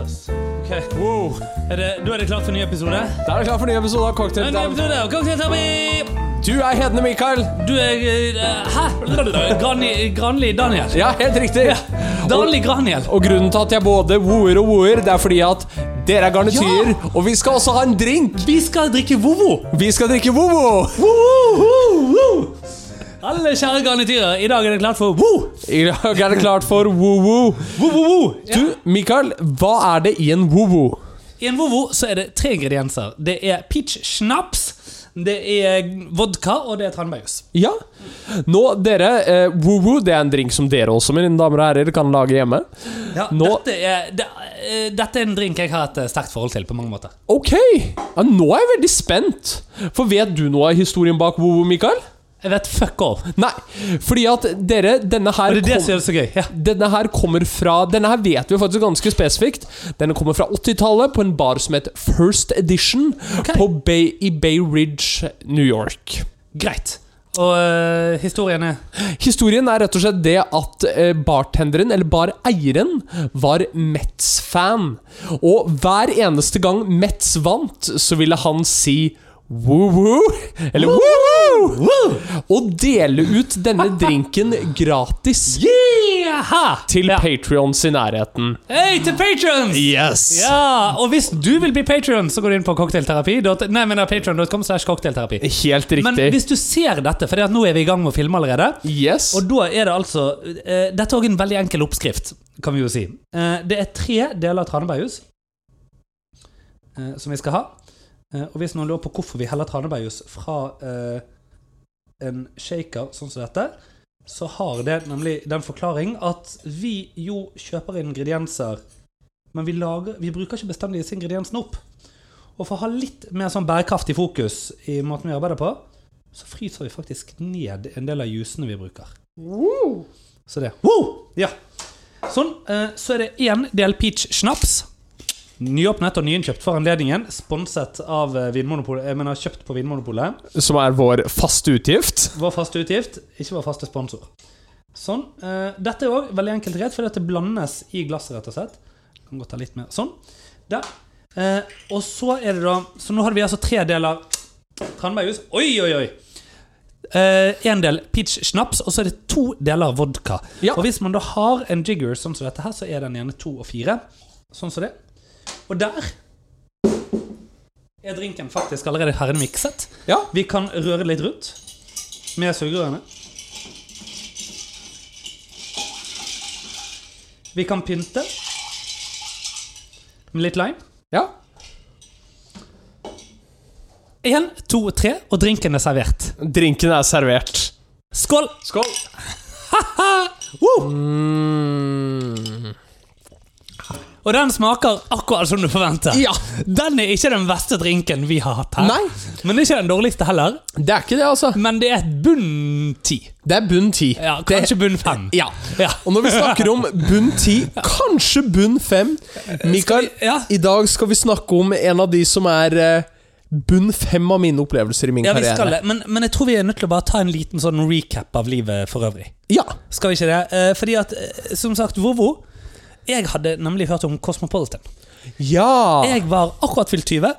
ass. Ok. Er det, da er det klart for en ny episode? Da er det klart for ny episode av Cocktail En ny Time. episode av Cocktail Therapy! Du er Hedne Mikael. Du er eh, Hæ? Granli, Granli Daniel. Ja, helt riktig. Danli Graniel. Og grunnen til at jeg både wooer og wooer, det er fordi at dere er garnityr, og vi skal også ha en drink. Vi skal drikke vovo. Vi skal drikke vovo. Alle kjære garnityrer, i dag er det klart for woo! I dag er det klart for woo-woo. Du, Mikael, hva er det i en woo-woo? I en vovo så er det tre ingredienser. Det er peach schnapps, det er vodka, og det er tranbærjus. Ja. Nå, dere, eh, woo-woo det er en drink som dere også, mine damer og herrer, kan lage hjemme. Ja, Nå- dette, er, det, eh, dette er en drink jeg har et eh, sterkt forhold til på mange måter. Ok, ja, nå er jeg veldig spent. For vet du noe av historien bak woo-woo, Mikael? Jeg vet fuck all. Og Nei, fordi at dere, denne her det er det kom- som gjør det så gøy. Ja. Denne her kommer fra Denne her vet vi faktisk ganske spesifikt. Denne kommer fra 80-tallet, på en bar som het First Edition på Bay, i Bay Ridge, New York. Greit. Og eh, historien er Historien er rett og slett det at eh, bartenderen, eller bareieren, var Metz-fan. Og hver eneste gang Metz vant, så ville han si Woo-woo, eller woo-woo, og dele ut denne drinken gratis Yeah! til ja. Patrions i nærheten. Hei til patrons! Yes! Ja, og hvis du vil bli patron, så går du inn på cocktailterapi. dot- Nei, men patron.com slash cocktailterapi. Helt riktig. Men hvis du ser dette, for nå er vi i gang med å filme allerede Yes. Og da er det altså eh, Dette er også en veldig enkel oppskrift, kan vi jo si. Eh, det er tre deler tranebærjus eh, som vi skal ha. Eh, og hvis noen lurer på hvorfor vi heller tranebærjus fra eh, en shaker sånn som dette, så har det nemlig den forklaring at vi jo kjøper inn ingredienser, men vi, lager, vi bruker ikke bestandig disse ingrediensene opp. Og for å ha litt mer sånn bærekraftig fokus i måten vi arbeider på, så fryser vi faktisk ned en del av jusene vi bruker. Så det Woo! Ja. Sånn. eh, Så er det én del peach snaps. Nyåpnet og nyinnkjøpt for anledningen. Sponset av eh, Vinmonopolet. Jeg mener kjøpt på Vinmonopolet. Som er vår faste utgift. Vår faste utgift, ikke vår faste sponsor. Sånn. eh, Dette er òg veldig enkelt greit, fordi at det blandes i glasset, rett og slett. Kan godt ta litt mer. Sånn. Der. Eh, Og så er det da Så nå hadde vi altså tre deler tranbærjus. Oi, oi, oi! Én del peach snaps, og så er det to deler vodka. Ja. Og hvis man da har en jigger sånn som dette her, så er den gjerne to og fire. Sånn som det. Og der er drinken faktisk allerede herremikset. Ja. Vi kan røre det litt rundt med sugerørene. Vi kan pynte med litt lime. Ja. Én, to, tre, og drinken er servert. Drinken er servert. Skål! Skål. Og den smaker akkurat som du forventer. Ja. Den er ikke den beste drinken vi har hatt her. Nei. Men det er ikke den dårligste heller. Det er ikke det, altså. Men det er et bunn ti. Det er bunn ti. Ja, kanskje bunn fem. Ja. Ja. Og når vi snakker om bunn ti, kanskje bunn fem Mikael, Skal vi- ja. i dag skal vi snakke om en av de som er eh, bunn fem av mine opplevelser i min Ja, vi skal karriere. det. Men, men jeg tror vi er nødt til å bare ta en liten sånn recap av livet for øvrig. Ja. Skal vi ikke det? Eh, Fordi at, eh, som sagt, Vovo Jeg hadde nemlig hørt om Cosmopolitan. Ja. Jeg var akkurat fylt 20.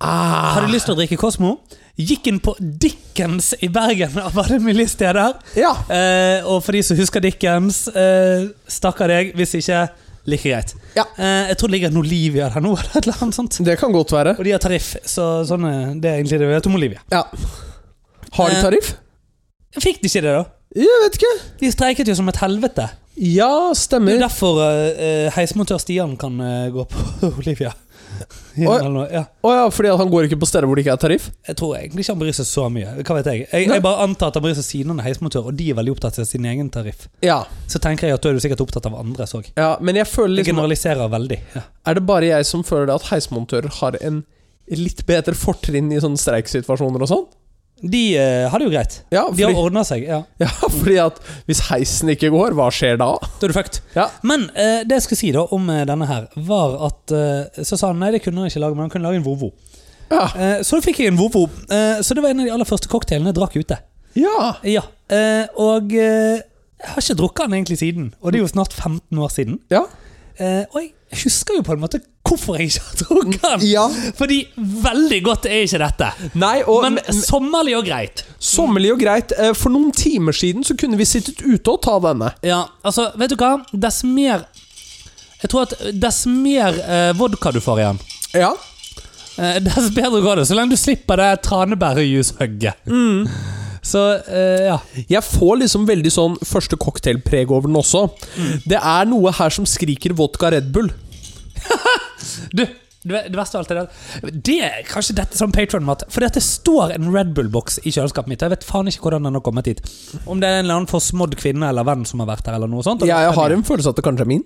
Ah. Hadde lyst til å drikke Cosmo. Gikk inn på Dickens i Bergen av alle mulige steder. ja. Eh, og for de som husker Dickens, eh, stakkar deg. Hvis ikke, like greit. Ja. Eh, jeg tror det ligger en Olivia der nå, eller et eller annet sånt. Det kan godt være. Og de har tariff, så sånn er det er egentlig det vi vet om Olivia. Ja. Har de Eh. tariff? Fikk de ikke det, da? Jeg vet ikke. De streiket jo som et helvete. Ja, Det er stemmer. derfor eh, eh, heismontør Stian kan eh, gå på Olivia. Ja, Oi. eller noe. ja. Å ja, fordi at han går ikke på steder hvor det ikke er tariff? Jeg tror egentlig ikke han bryr seg så mye. Hva vet Jeg Jeg, Nei. jeg bare antar at han bryr seg siden han er heismontør, og de er veldig opptatt av sin egen tariff. Ja. Så tenker jeg at da er du sikkert opptatt av andres òg. ja men jeg føler Jeg liksom generaliserer veldig. Ja. Er det bare jeg som føler at heismontører har en litt bedre fortrinn i sånne streiksituasjoner og sånn? De eh, har det jo greit. Ja, De har fordi, ordna seg. ja ja, fordi at hvis heisen ikke går, hva skjer da? Da er du fucked. Ja. Men eh, det jeg skulle si da om eh, denne her, var at eh, Så sa han nei, det kunne han ikke lage, men han kunne lage en vovo. Ja. Eh, så da fikk jeg en vovo. Eh, så det var en av de aller første cocktailene jeg drakk ute. Ja. Ja. Eh, og eh, jeg har ikke drukket den egentlig siden. Og det er jo snart 15 år siden. ja. Eh, og jeg Jeg husker jo på en måte hvorfor jeg ikke har drukket den. Ja. Fordi veldig godt er ikke dette. Nei, og Men sommerlig og greit. sommerlig og greit. eh, For noen timer siden så kunne vi sittet ute og ta denne. Ja, altså, vet du hva? Dess mer Jeg tror at dess mer eh, vodka du får igjen, Ja. eh, dess bedre går det. Så lenge du slipper det tranebærjuicehugget. Mm. Så eh, ja. Jeg får liksom veldig sånn første cocktailpreg over den også. Mm. Det er noe her som skriker vodka Red Bull. Du, du vet- det verste av alt er det Det er kanskje dette som Patron-mat. For det står en Red Bull-boks i kjøleskapet mitt. og Jeg vet faen ikke hvordan den har kommet hit. Om det er en eller annen forsmådd kvinne eller venn som har vært her, eller noe sånt. Ja, jeg har en følelse at det kanskje er min.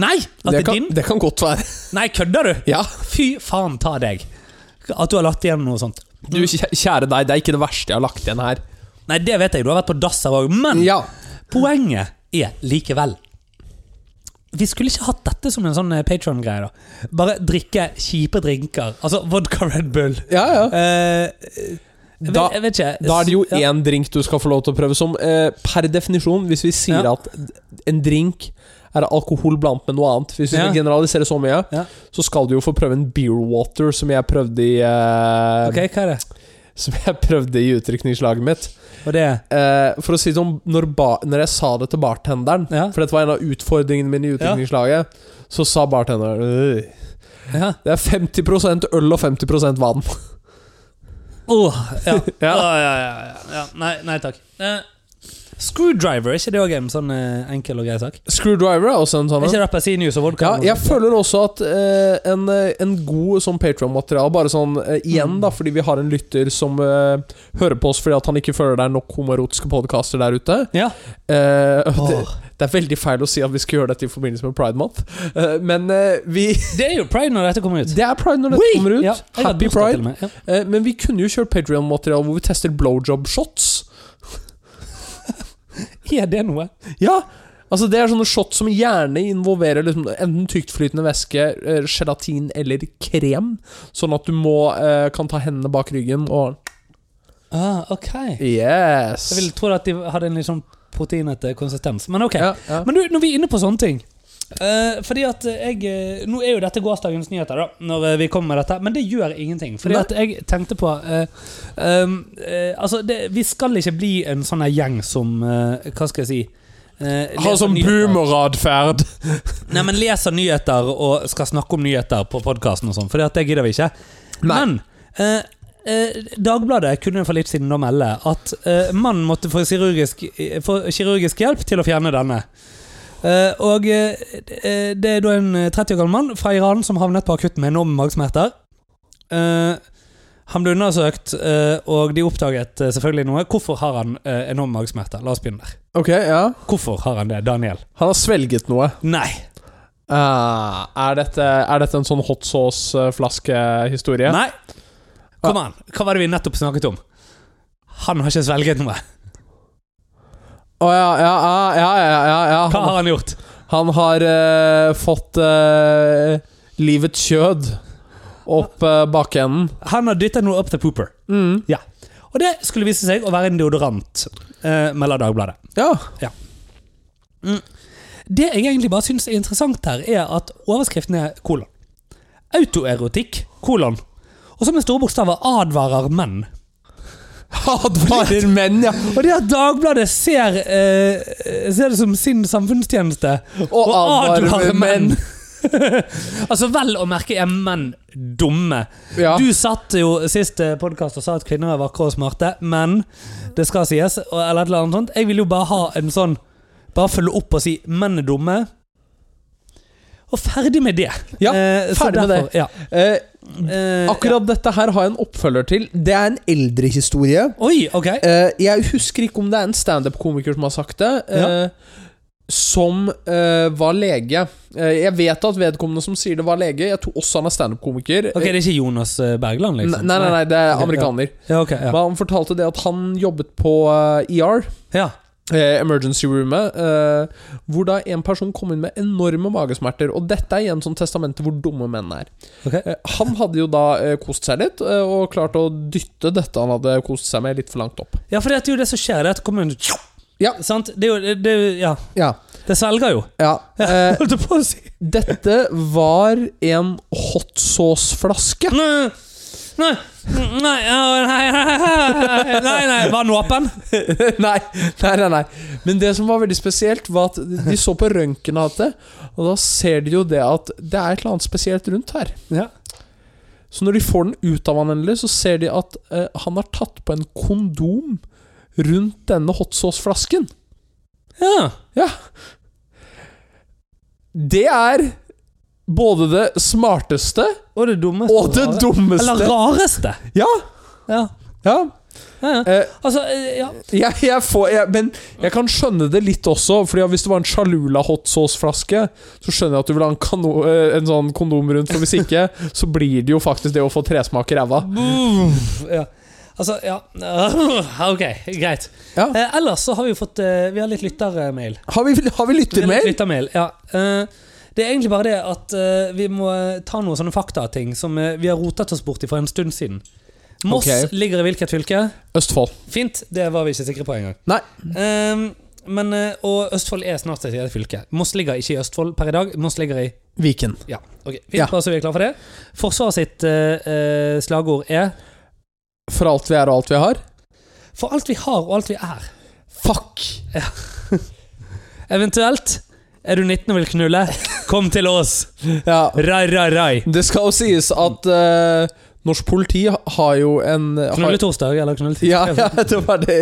Nei! At det, Det kan, er din? det kan godt være. Nei, kødder du? Ja. Fy faen ta deg. At du har lagt igjen noe sånt. Du, kjæ- kjære deg, det er ikke det verste jeg har lagt igjen her. Nei, det vet jeg. Du har vært på dass her òg. Men Ja. poenget er likevel Vi skulle ikke hatt dette som en sånn Patron-greie. da Bare drikke kjipe drinker. Altså vodka Red Bull. Ja, ja. Eh, jeg, Da- vet, jeg vet ikke. Da er det jo Ja. én drink du skal få lov til å prøve som. Eh, per definisjon, hvis vi sier Ja. at en drink er alkohol blandet med noe annet Hvis vi skal Ja. generalisere så mye, Ja. så skal du jo få prøve en beer water, som jeg prøvde i eh, Ok, hva er det? Som jeg prøvde i utrykningslaget mitt. Og det er Eh, for å si det sånn, når, ba når jeg sa det til bartenderen Ja. For dette var en av utfordringene mine i utrykningslaget. Så sa bartenderen «Øh, ja. Det er 50 øl og 50 vann. Åh, ja. Ja. Åh, ja, ja, ja, ja. Nei, nei takk. Eh, screwdriver, er ikke det òg en sånn eh, enkel og grei sak? Screwdriver er også en sånn Er en. ikke det appelsinjuice og vodka? Ja, jeg føler også at eh, en, eh, en god sånn Patreon-materiale Bare sånn eh, igjen, da, fordi vi har en lytter som eh, hører på oss fordi at han ikke føler det er nok homoerotiske podkaster der ute. Ja. Eh, og det, Åh, det er veldig feil å si at vi skal gjøre dette i forbindelse med Pride Month, eh, men eh, vi Det er jo pride når dette kommer ut. Det er pride når dette kommer ut. Ja, jeg har Happy bursdag pride. til og med, ja. Eh, men vi kunne jo kjørt Patreon-materiale hvor vi tester blowjob shots. Er det noe? Ja, altså Det er sånne shots som gjerne involverer liksom enten tyktflytende væske, eh, gelatin eller krem. Sånn at du må, eh, kan ta hendene bak ryggen og Ah, ok. Yes! Jeg ville trodd at de hadde en litt sånn proteinete konsistens, men ok. Ja, ja. Men du, når vi er inne på sånne ting eh, Fordi at jeg eh, Nå er jo dette gårsdagens nyheter, da, når eh, vi kommer med dette, men det gjør ingenting. Fordi Nei. at jeg tenkte på eh, um, eh, Altså, det, vi skal ikke bli en sånn her gjeng som eh, Hva skal jeg si? eh, Ha leser sånn nyheter. boomeradferd. Nei, men leser nyheter og skal snakke om nyheter på podkasten og sånn, for det gidder vi ikke. Nei. Men eh, eh, Dagbladet kunne for litt siden da melde at eh, mannen måtte få kirurgisk, eh, få kirurgisk hjelp til å fjerne denne. Eh, og eh, eh, det er da en eh, 30 år gammel mann fra Iran som havnet på akutten med enorme magesmerter. Eh, han ble undersøkt, eh, og de oppdaget eh, selvfølgelig noe. Hvorfor har han eh, enorme magesmerter? La oss begynne der. Ok, ja. Hvorfor har han det, Daniel? Han har svelget noe. Nei. Ah, er, dette, er dette en sånn hot sauce-flaskehistorie? Nei. Kom an, hva var det vi nettopp snakket om? Han har ikke svelget noe. Å ja, ja, ja, ja, ja, ja, ja. Hva har han gjort? Han har eh, fått eh, livets kjød opp eh, bakenden. Han har dyttet noe opp til pooper. Mm. Og det skulle vise seg å være en deodorant, eh, melder Dagbladet. Ja. Det jeg egentlig bare syns er interessant her, er at overskriften er kolon. Autoerotikk, kolon. Og så med store bokstaver advarer menn. Advarer menn, ja. Og det at Dagbladet ser, eh, ser det som sin samfunnstjeneste Og advarer menn. altså vel å merke er menn dumme. Ja. Du satt jo sist podkast og sa at kvinner er vakre og smarte, men det skal sies, og- eller et eller annet sånt. Jeg vil jo bare ha en sånn Bare følge opp og si 'menn er dumme'. Og ferdig med det. Ja, Eh, så ferdig med derfor- Ja. Eh, Eh, akkurat dette her har jeg en oppfølger til. Det er en eldre historie. ja. Oi, ok. Eh, jeg husker ikke om det er en standup-komiker som har sagt det. eh, Som eh, var lege. Eh, jeg vet at vedkommende som sier det, var lege. Jeg tror også han er standup-komiker. Ok, Det er ikke Jonas eh, Bergland, Eh, liksom? nei, nei, nei, det er Ok, ja. amerikaner. Ja, ok, ja. Men han fortalte det at han jobbet på eh, ER. ja. eh, emergency roomet, eh, hvor da en person kom inn med enorme magesmerter. Og dette er igjen sånn testamentet hvor dumme menn er. Ok. Eh, han hadde jo da eh, kost seg litt, eh, og klart å dytte dette han hadde kost seg med, litt for langt opp. Ja, for det er jo det som skjer. Det er at kommunen Ja. Sant? Det er jo det, er jo- Ja. Ja. Det selger jo. Ja. Eh, Holdt jeg på å si. dette var en hot sauce-flaske. Nei, nei, nei, ja, nei, nei, nei, nei. Var den åpen? nei, nei, nei, nei. Men det som var veldig spesielt, var at de så på røntgen av dette, og da ser de jo det at det er et eller annet spesielt rundt her. Ja. Så når de får den ut av han endelig, så ser de at eh, han har tatt på en kondom rundt denne hot sauce-flasken. ja. Ja. Det er både det smarteste Og det dummeste. og det rare. Eller dummeste. rareste. Ja, Ja. ja. ja, ja. Eh, Altså, eh, ja. Jeg, jeg får, jeg, men jeg kan skjønne det litt også, Fordi hvis det var en Chalula hot sauce-flaske, så skjønner jeg at du vil ha en, kano, eh, en sånn kondom rundt, for hvis ikke, så blir det jo faktisk det å få tresmak i ræva. Uff, ja. Altså, ja. Ok, greit. Ja. Eh, ellers så har vi jo fått eh, Vi har litt lyttermail. Har vi, har vi Vi har litt lyttermail? lyttermail, ja. Eh, det er egentlig bare det at eh, vi må eh, ta noen sånne faktating som eh, vi har rotet oss bort i for en stund siden. Moss Ok. ligger i hvilket fylke? Østfold. Fint, det var vi ikke sikre på engang. Nei. Ehm, men, eh, og Østfold er snart et eget fylke. Moss ligger ikke i Østfold per i dag. Moss ligger i Viken. Ja, ok. Fint, Ja. bare så vi er klar for det. Forsvaret sitt eh, eh, slagord er For alt vi er og alt vi har. For alt vi har og alt vi er. Fuck! Eventuelt er du 19 og vil knulle, kom til oss! Ja. Rai, rai, rai. Det skal jo sies at eh, norsk politi ha- har jo en har, Knulletorsdag eller knulletirsdag? ja, ja, det var det,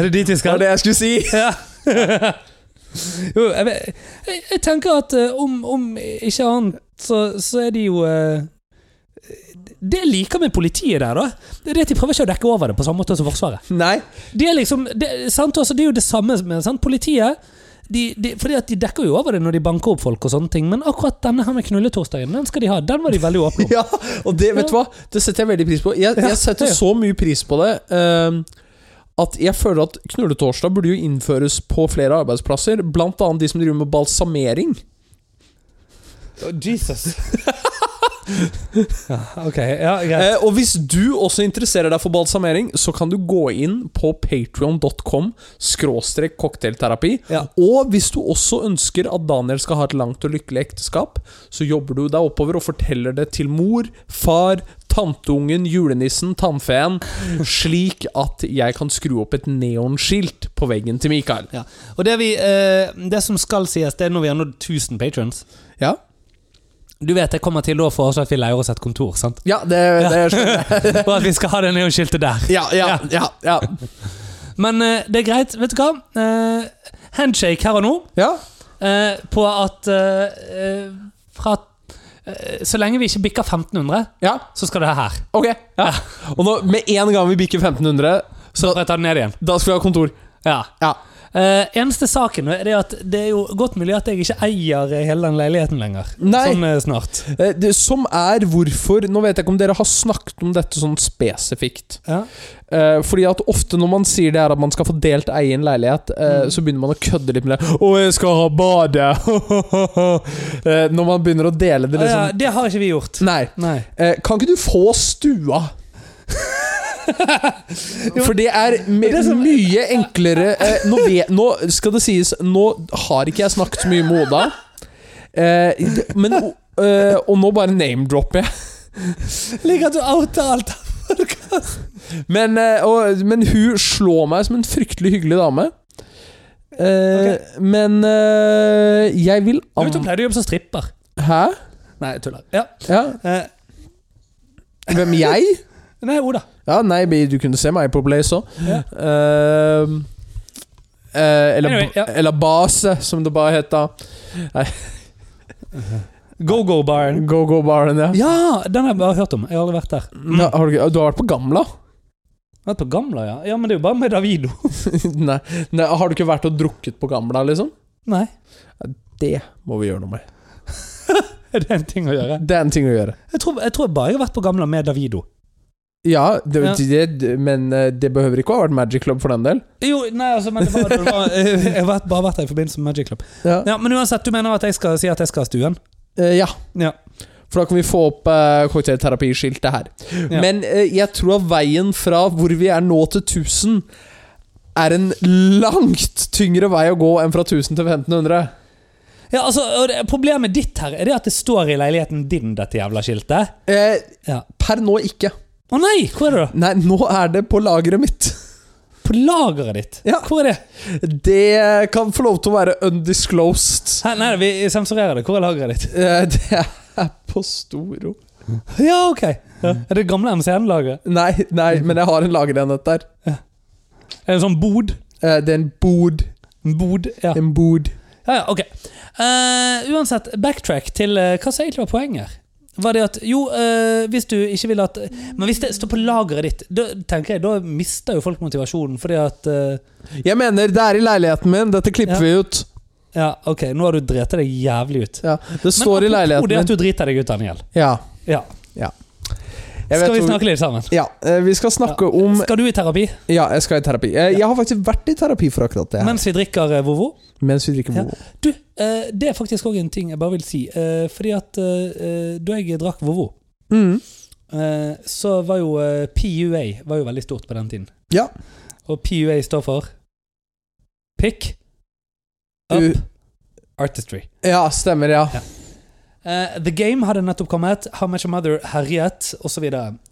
Er det dit vi det, var skal? det jeg skulle si. Ja. jo, jeg, vet- jeg, jeg tenker at eh, om, om ikke annet, så, så er de jo eh, Det jeg liker med politiet der, da, det er at de prøver ikke å dekke over det på samme måte som Forsvaret. Nei. Det er liksom, det, sant? Også, det er jo det samme med sant? politiet. De, de, fordi at de dekker jo over det når de banker opp folk, og sånne ting men akkurat denne her med knulletorsdagen den skal de ha. Den var de veldig åpne om. Ja, og det, vet du hva? Det setter jeg veldig pris på. Jeg, Ja, jeg setter ja. så mye pris på det eh, at jeg føler at knulletorsdag burde jo innføres på flere arbeidsplasser, blant annet de som driver med balsamering. Jesus. ja, ok, ja, greit. Eh, og hvis du også interesserer deg for balsamering, så kan du gå inn på patreon.com skråstrek cocktailterapi. Ja. Og hvis du også ønsker at Daniel skal ha et langt og lykkelig ekteskap, så jobber du deg oppover og forteller det til mor, far, tanteungen, julenissen, tannfeen, slik at jeg kan skru opp et neonskilt på veggen til Mikael. Ja. Og det, vi, eh, det som skal sies, det er når vi har nådd 1000 patrons. Ja, Du vet, jeg kommer til å foreslå at vi leier oss et kontor, sant? ja det, det skjønner jeg. Og at vi skal ha det neonskiltet der. Ja, ja, ja. ja. Men eh, det er greit, vet du hva? Eh, handshake her og nå ja. eh, på at eh, eh, fra eh, Så lenge vi ikke bikker 1500, ja. så skal det her. Ok. Ja. Og nå, med en gang vi bikker 1500, Så får jeg ta det ned igjen. da skal vi ha kontor. Ja. Ja. Eh, eneste saken er det at det er jo godt mulig at jeg ikke eier hele den leiligheten lenger. Nei. Sånn eh, snart. Eh, Det, som er hvorfor Nå vet jeg ikke om dere har snakket om dette sånn spesifikt. Ja. Eh, fordi at ofte når man sier det her at man skal få delt eie i en leilighet, eh, Mm. så begynner man å kødde litt med det. 'Å, jeg skal ha bade!' eh, når man begynner å dele det, Ah, ja, liksom. det har ikke vi gjort. Nei. Nei. Eh, kan ikke du få stua? For det er, me- Det er så- mye enklere eh, nå, vet, nå skal det sies Nå har ikke jeg snakket så mye med Oda. Eh, det- men, eh, og nå bare name-dropper jeg. Ligger at du outer alt. Men, eh, og, men hun slår meg som en fryktelig hyggelig dame. Eh, Men eh, jeg vil Du vet, an... hun pleide å jobbe som stripper. Hæ? Nei, jeg tuller. Ja. Ja. Eh, Hvem jeg? nei, Oda. Ja, nei, men du kunne se meg på Blaze òg. Ja. eh, eller, Anyway, ja. eller Base, som det bare het da. Go-go-baren. Go-go-baren, ja. Ja, den har jeg bare hørt om. Jeg har aldri vært der. Ja, har du, ikke- du har vært på Gamla? Vært på Gamla, ja. Ja, Men det er jo bare med Davido. nei, nei, har du ikke vært og drukket på Gamla, liksom? Nei. Det må vi gjøre noe med. Er det en ting å gjøre? Det er en ting å gjøre. Jeg tror, jeg tror bare jeg har vært på Gamla med Davido. Ja, det, Ja. Det, men eh, det behøver ikke å ha vært Magic Club for den del. Jo, nei, altså, men det var, det var, jeg har vært- bare vært der i forbindelse med Magic Club. Ja. Ja, Men uansett, du mener at jeg skal si at jeg skal ha stuen? Eh, ja. Ja. For da kan vi få opp uh, cocktailterapiskiltet her. Ja. Men eh, jeg tror at veien fra hvor vi er nå til 1000, er en langt tyngre vei å gå enn fra 1000 til 1500. Ja, altså, og det, Problemet ditt her er det at det står i leiligheten din, dette jævla skiltet. Eh, Ja. per nå ikke. Å nei! Hvor er det? da? Nei, nå er det på lageret mitt. På lageret ditt. Ja. Hvor er det? Det kan få lov til å være undisclosed. Hæ, nei, vi sensurerer det. Hvor er lageret ditt? Eh, det er på Storo. Ja, ok. Ja. Er det gamle MCN-lageret? Nei, nei, men jeg har en lagerenhet der. Er det en sånn bod? Eh, det er en bod. En bod? Ja, En bod. ja, ja ok. Eh, uansett, backtrack til eh, hva som egentlig var poenget her. Var det at Jo, eh, hvis du ikke vil at Men hvis det står på lageret ditt, da tenker jeg, da mister jo folk motivasjonen, fordi at eh, Jeg mener, det er i leiligheten min. Dette klipper Ja. vi ut. Ja, ok, nå har du dreti deg jævlig ut. Ja. Det står i apropos leiligheten det min. at du driter deg ut, Daniel. Ja. Ja. Jeg Skal vet vi hvor- snakke litt sammen? Ja, eh, vi skal snakke om Skal du i terapi Ja, jeg skal i terapi. Eh, Jeg har faktisk vært i terapi for akkurat det. her mens vi drikker eh, Vovo? Mens vi drikker Ja. Vovo. Du, eh, det er faktisk òg en ting jeg bare vil si. eh, Fordi at eh, eh, da jeg drakk Vovo, Mm. eh, så var jo eh, PUA var jo veldig stort på den tiden. Ja. Og PUA står for Pick U- Up Artistry. ja, stemmer, ja. Ja. Eh, The Game hadde nettopp kommet. How Much A Mother herjet, osv.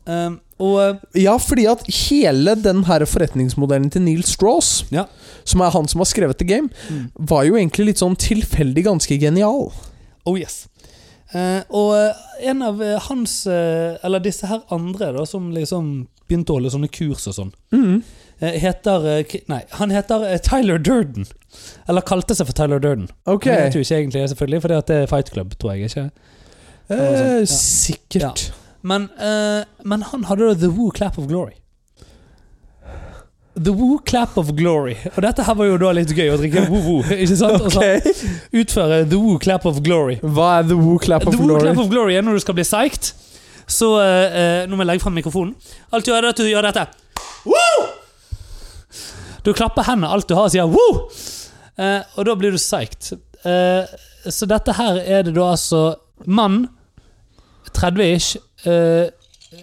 Um, og eh, Ja, fordi at hele den her forretningsmodellen til Neil Strauss, Ja. som er han som har skrevet The Game, Mm. var jo egentlig litt sånn tilfeldig ganske genial. Oh yes. Eh, og eh, en av eh, hans eh, Eller disse her andre da, som liksom begynte å holde sånne kurs og sånn, Mm. eh, heter eh, K- Nei, han heter eh, Tyler Durden. Eller kalte seg for Tyler Durden. Ok. Det vet jo ikke egentlig, selvfølgelig, for det er Fight Club, tror jeg. ikke Eh, Ja. sikkert. Men, eh, men han hadde da The Woo Clap of Glory. The Woo Clap of Glory. Og dette her var jo da litt gøy, å drikke woo-woo. Ikke sant? Og så Ok. utføre The Woo Clap of Glory. Hva er The Woo Clap of The Woo Glory? Clap of Glory er når du skal bli psyched. Så eh, eh, nå må jeg legge fram mikrofonen. Alt du gjør, er at du gjør dette. Woo! Du klapper hendene alt du har, og sier woo! Eh, og da blir du psyched. Eh, så dette her er det da altså mann, 30-ish, eh,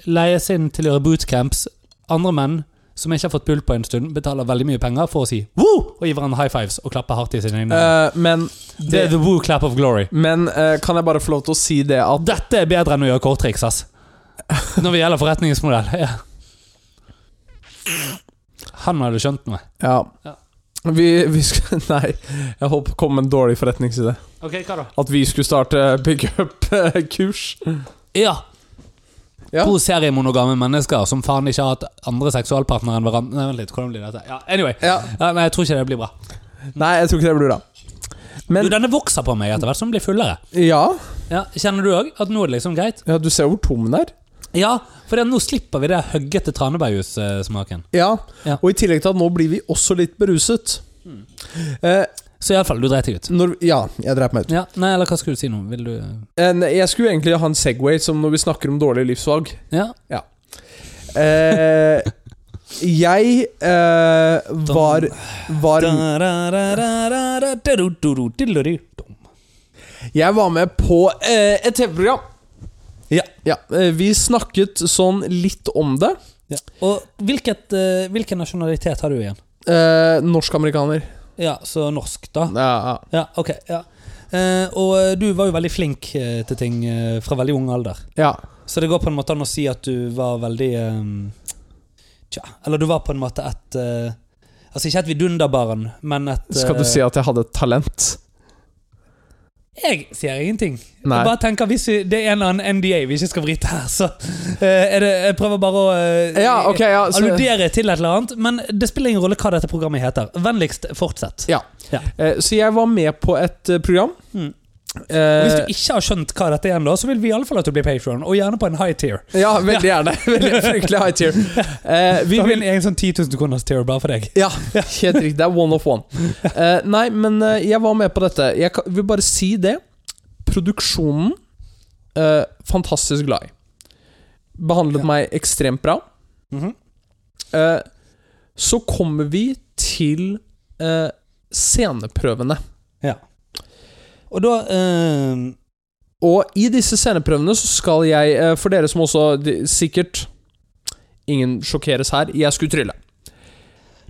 leies inn til å gjøre bootcamps. Andre menn som ikke har fått pull på en stund, betaler veldig mye penger for å si woo! Og gi hverandre high fives og klappe hardt i sine øyne. Eh, men det er the woo clap of glory. men eh, kan jeg bare få lov til å si det at Dette er bedre enn å gjøre korttriks, ass. Når det gjelder forretningsmodell. Ja. Han hadde skjønt noe. Ja. Ja. Vi, vi skal Nei, jeg holdt på å komme med en dårlig forretningsidé. Ok, hva da? At vi skulle starte big eh, up-kurs. Ja. Ja. To seriemonogame mennesker som faen ikke har hatt andre seksualpartnere enn hverandre. Nei, vent litt, hvordan blir dette? Ja, anyway. Ja. Ja, nei, jeg tror ikke det blir bra. Nei, jeg tror ikke det blir bra. Du, Men denne vokser på meg etter hvert som den blir fullere. ja, Ja, kjenner du òg at nå er det liksom greit? ja du ser hvor tom den er. Ja, for det- nå slipper vi det høggete tranebærjussmaken. Ja. Ja. Mm. Og i tillegg til at nå blir vi også litt beruset. Eh, Så iallfall, du dreit deg ut. når, ja, jeg dreit meg ut. Ja, nei, eller hva skulle du si nå? Vil du Eh, nei, jeg skulle egentlig ha en Segway som når vi snakker om dårlige livsvalg. Ja. Eh, jeg eh, var, var Jeg var med på eh, et TV-program. Ja. eh, Vi snakket sånn litt om det. Ja. Og hvilket, eh, hvilken nasjonalitet har du igjen? Eh, Norsk-amerikaner. Ja, så norsk, da. Ja, Ja, ok. Ja. Eh, og eh, du var jo veldig flink eh, til ting eh, fra veldig ung alder. ja. Så det går på en måte an å si at du var veldig eh, Tja, eller du var på en måte et eh, Altså ikke et vidunderbarn, men et eh, Skal du si at jeg hadde et talent? Jeg sier ingenting. Nei. Jeg bare tenker hvis vi, Det er en eller annen NDA vi ikke skal vrite her, så eh, er det, jeg prøver bare å eh, Ja, ok, ja. så- alludere til et eller annet. Men det spiller ingen rolle hva dette programmet heter. Vennligst fortsett. Ja. Ja. Eh, Så jeg var med på et eh, program. Mm. Hvis Eh, du ikke har skjønt hva dette er ennå, så vil vi i alle fall at du blir patron, og gjerne på en high tier. ja, veldig gjerne. Veldig Fryktelig high tier. Eh, vi Da har vi vil en egen sånn 10 000 kroners tier bare for deg. ja, helt riktig. Det er one of one. Eh, nei, men eh, jeg var med på dette. Jeg kan- vil bare si det. Produksjonen eh, Fantastisk glad i. Behandlet Ja. meg ekstremt bra. Mhm. Eh, så kommer vi til eh, sceneprøvene. Og da eh, Og i disse sceneprøvene så skal jeg, eh, for dere som også de- sikkert Ingen sjokkeres her, jeg skulle trylle.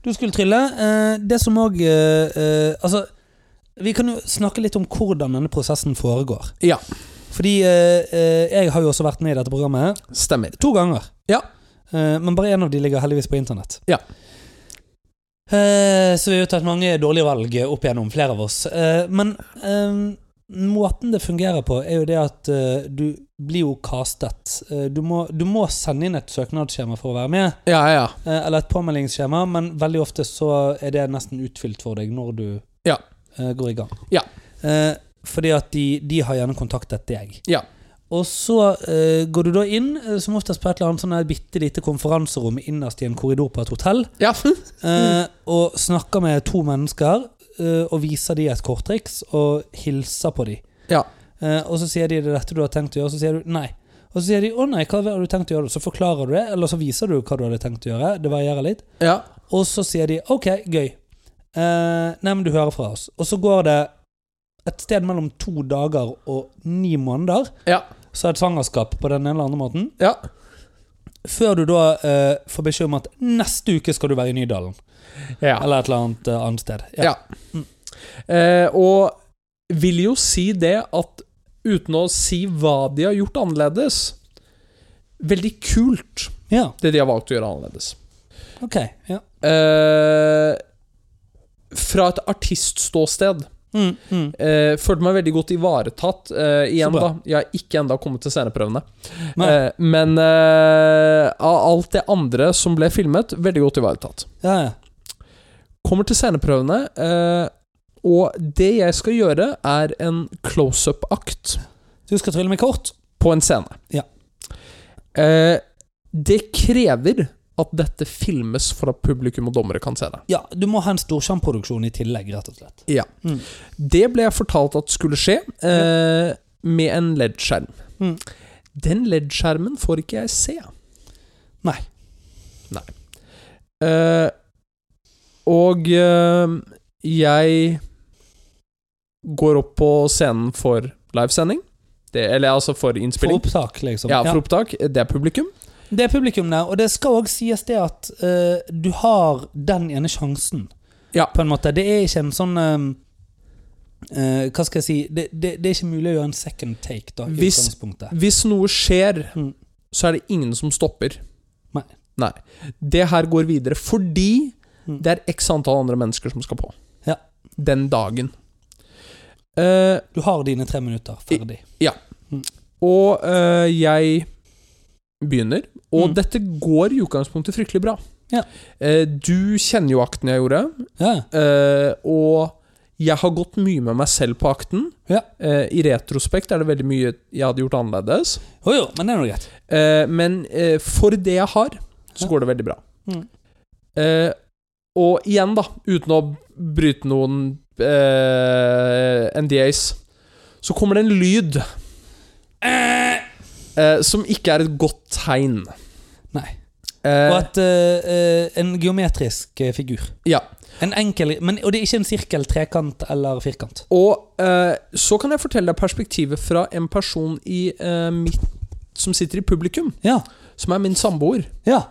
Du skulle trylle. Eh, det som òg eh, eh, Altså, Vi kan jo snakke litt om hvordan denne prosessen foregår. Ja, Fordi eh, eh, jeg har jo også vært med i dette programmet stemmer. to ganger. Ja. Eh, men bare én av de ligger heldigvis på internett. Ja. Eh, så vi har jo tatt mange dårlige valg opp igjennom, flere av oss. Eh, men eh, måten det fungerer på, er jo det at eh, du blir jo castet. Eh, du, må, du må sende inn et søknadsskjema for å være med. Ja, ja, ja. Eh, Eller et påmeldingsskjema, men veldig ofte så er det nesten utfylt for deg når du Ja. eh, går i gang. Ja. Eh, fordi at de, de har gjerne kontaktet deg. Ja. Og så eh, går du da inn, eh, som oftest på et eller annet sånn her bitte lite konferanserom innerst i en korridor på et hotell, Ja, eh, og snakker med to mennesker eh, og viser de et korttriks og hilser på de. Ja. Eh, og så sier de det er dette du har tenkt å gjøre, og så sier du nei. Og så sier de å nei, hva har du tenkt å gjøre? Så forklarer du det, eller så viser du hva du hadde tenkt å gjøre. Det varierer litt. ja. Og så sier de OK, gøy. Eh, nei, men du hører fra oss. Og så går det et sted mellom to dager og ni måneder. Ja. Så er det svangerskap på den ene eller andre måten. ja. Før du da eh, får beskjed om at neste uke skal du være i Nydalen. ja. Eller et eller annet eh, annet sted. Ja. Eh, og vil jo si det at uten å si hva de har gjort annerledes Veldig kult, ja. det de har valgt å gjøre annerledes. Ok. Ja. Eh, fra et artistståsted Mm, mm. eh, følte meg veldig godt ivaretatt. Eh, igjen, Så bra. da. Jeg har ikke enda kommet til sceneprøvene. Nei. Eh, men eh, av alt det andre som ble filmet, veldig godt ivaretatt. ja, ja. Kommer til sceneprøvene, eh, og det jeg skal gjøre, er en close-up-akt Du skal trylle med kort. på en scene. Ja. Eh, det krever at dette filmes for at publikum og dommere kan se det. Ja, du må ha en storskjermproduksjon i tillegg, rett og slett. Mm. Det ble jeg fortalt at skulle skje eh, med en LED-skjerm. Mm. Den LED-skjermen får ikke jeg se. Nei. Nei. Eh, og eh, jeg går opp på scenen for livesending. Det, eller altså for For innspilling. opptak, liksom. ja, Ja. for opptak. Det er publikum. Det er publikum der, og det skal òg sies det at eh, du har den ene sjansen, Ja. på en måte. Det er ikke en sånn eh, eh, Hva skal jeg si det, det, det er ikke mulig å gjøre en second take, da, i Hvis- utgangspunktet. Hvis noe skjer, Mm. så er det ingen som stopper. Nei. Nei. Det her går videre fordi Mm. det er x antall andre mennesker som skal på. Ja. Den dagen. Eh, Du har dine tre minutter ferdig. og eh, jeg begynner. Og Mm. dette går i utgangspunktet fryktelig bra. Ja. Eh, du kjenner jo akten jeg gjorde. Ja. Eh, og jeg har gått mye med meg selv på akten. Ja. Eh, I retrospekt er det veldig mye jeg hadde gjort annerledes. Jo, jo, men det er nå greit. Eh, men eh, for det jeg har, så Ja. går det veldig bra. Mm. Eh, og igjen, da, uten å bryte noen eh, NDAs, så kommer det en lyd eh, som ikke er et godt tegn. Nei. Og Eh, at eh, eh, en geometrisk eh, figur. ja. En enkel men, Og det er ikke en sirkel, trekant eller firkant. Og eh, så kan jeg fortelle deg perspektivet fra en person i eh, mitt som sitter i publikum, Ja. som er min samboer. ja.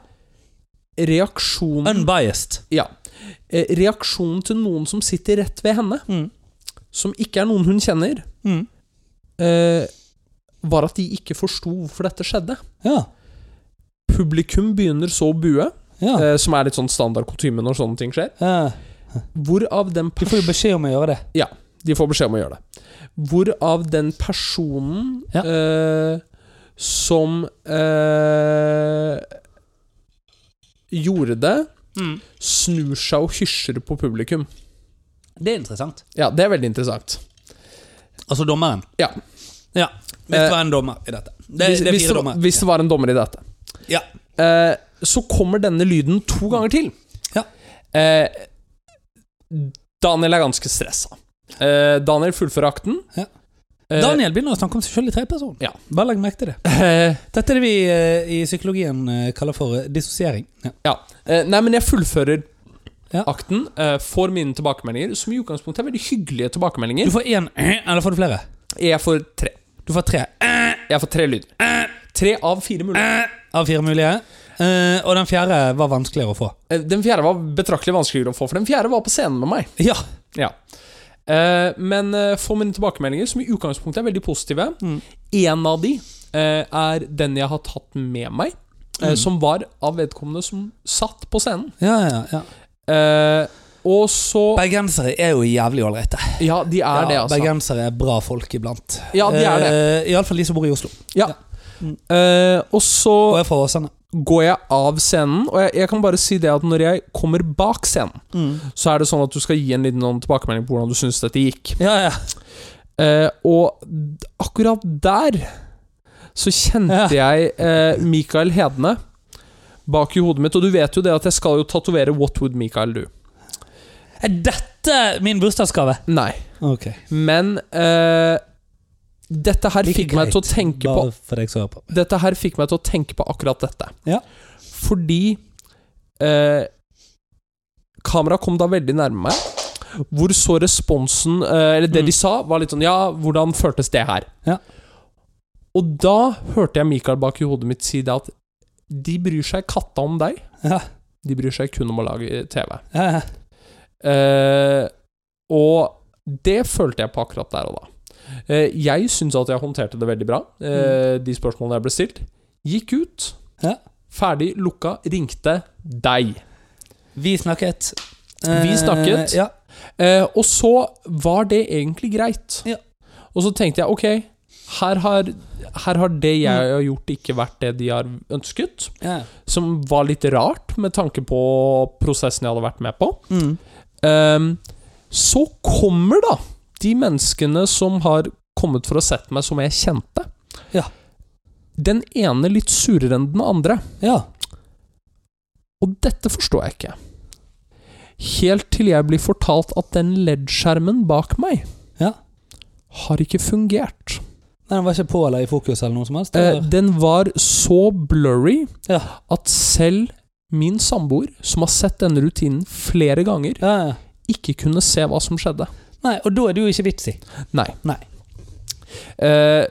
Reaksjonen, Unbiased. eh, reaksjonen til noen som sitter rett ved henne, Mm. som ikke er noen hun kjenner, Mm. eh, var at de ikke forsto hvorfor dette skjedde. Ja. Publikum begynner så å bue, Ja. eh, som er litt sånn standard kutyme når sånne ting skjer. ja. Hvorav den De får jo pers- beskjed om å gjøre det. de får beskjed om å gjøre det. Hvorav den personen Ja. eh, som eh, gjorde det, Mm. snur seg og hysjer på publikum. Det er interessant. Ja, det er veldig interessant. Altså dommeren. Ja. Ja. Hvis Eh, det var en dommer i dette. Det, hvis, det er hvis, fire det, var- dommere. hvis det var en dommer i dette. Ja. Eh, så kommer denne lyden to ganger til. Ja. Eh, Daniel er ganske stressa. Eh, Daniel fullfører akten. Ja. Eh, Daniel begynner å snakke om seg selv i tredjeperson. Ja. Bare legg merke til det. eh, Dette er det vi eh, i psykologien eh, kaller for eh, dissosiering. Ja. ja. Eh, nei, men jeg fullfører Ja. akten. Eh, får mine tilbakemeldinger, som i utgangspunktet er veldig hyggelige Du tilbakemeldinger. får én, eh, eller får du flere? Jeg får tre. Du får tre eh, Jeg får tre lyder. Tre av fire mulige. av fire mulige. Eh, og den fjerde var vanskeligere å få. Eh, Den fjerde var betraktelig vanskeligere å få, for den fjerde var på scenen med meg. Ja. Ja. Eh, men eh, for mine tilbakemeldinger, som i utgangspunktet er veldig positive Mm. En av de eh, er den jeg har tatt med meg, eh, Mm. som var av vedkommende som satt på scenen. Ja, ja, ja. Eh, og så Bergensere er jo jævlig ålreite. Ja, de er det, Ja, altså. Bergensere er bra folk iblant. Ja, de er det. Eh, Iallfall de som bor i Oslo. Ja. Mm. Eh, og Og så er fra Åsane. går jeg av scenen, og jeg, jeg kan bare si det at når jeg kommer bak scenen, Mm. så er det sånn at du skal gi en liten noen tilbakemelding på hvordan du syns dette gikk. Ja, ja. Eh, og d- akkurat der så kjente jeg eh, Mikael Hedne bak i hodet mitt. Og du vet jo det at jeg skal jo tatovere What Would Mikael Do? Er dette min bursdagsgave? Nei. Ok. Men eh, dette her fikk meg til å tenke på Bare for deg som hører på. Dette her fikk meg til å tenke på akkurat dette. Ja. Fordi eh, Kameraet kom da veldig nærme meg. Hvor så responsen eh, Eller det Mm. de sa, var litt sånn Ja, hvordan føltes det her? Ja. Og da hørte jeg Mikael bak i hodet mitt si det at de bryr seg katta om deg. Ja. De bryr seg kun om å lage TV. Ja, ja. Eh, og det følte jeg på akkurat der og da. Eh, jeg syns at jeg håndterte det veldig bra, eh, de spørsmålene jeg ble stilt. Gikk ut, Mm. Ja. ferdig, lukka, ringte deg. Vi snakket. Vi snakket. Eh, ja. Eh, og så var det egentlig greit. Ja. Og så tenkte jeg ok, her har, her har det jeg Mm. har gjort, ikke vært det de har ønsket. Ja. Som var litt rart, med tanke på prosessen jeg hadde vært med på. Mm. Ehm, så kommer da de menneskene som har kommet for å sette meg, som jeg kjente. Ja. Den ene litt surere enn den andre. ja. Og dette forstår jeg ikke. Helt til jeg blir fortalt at den LED-skjermen bak meg Ja. har ikke fungert. Nei, den var ikke på eller i fokus eller noe som helst? Eh, eller? den var så blurry Ja. at selv min samboer, som har sett denne rutinen flere ganger, ja, ja. ikke kunne se hva som skjedde. Nei, og da er det jo ikke vits i. Nei. Nei. Eh,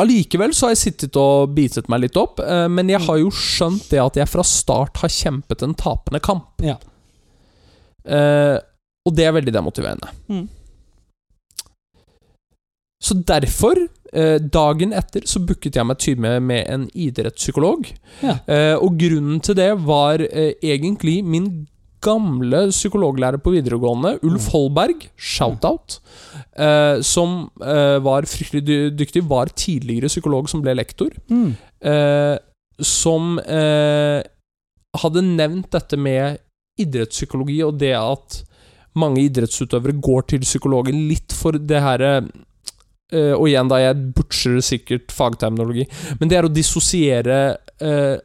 Allikevel så har jeg sittet og bitet meg litt opp, eh, men Mm. jeg har jo skjønt det at jeg fra start har kjempet en tapende kamp. Ja. Eh, og det er veldig demotiverende. Mm. Så derfor, eh, dagen etter, så booket jeg meg time med en idrettspsykolog. Ja. Eh, og grunnen til det var eh, egentlig min gamle psykologlærer på videregående, Ulf Mm. Holberg, shout-out, eh, som eh, var fryktelig dy- dyktig, var tidligere psykolog som ble lektor, Mm. eh, som eh, hadde nevnt dette med idrettspsykologi og det at mange idrettsutøvere går til psykologen litt for det her eh, Og igjen, da, jeg butcher sikkert fagterminologi, men det er å dissosiere eh,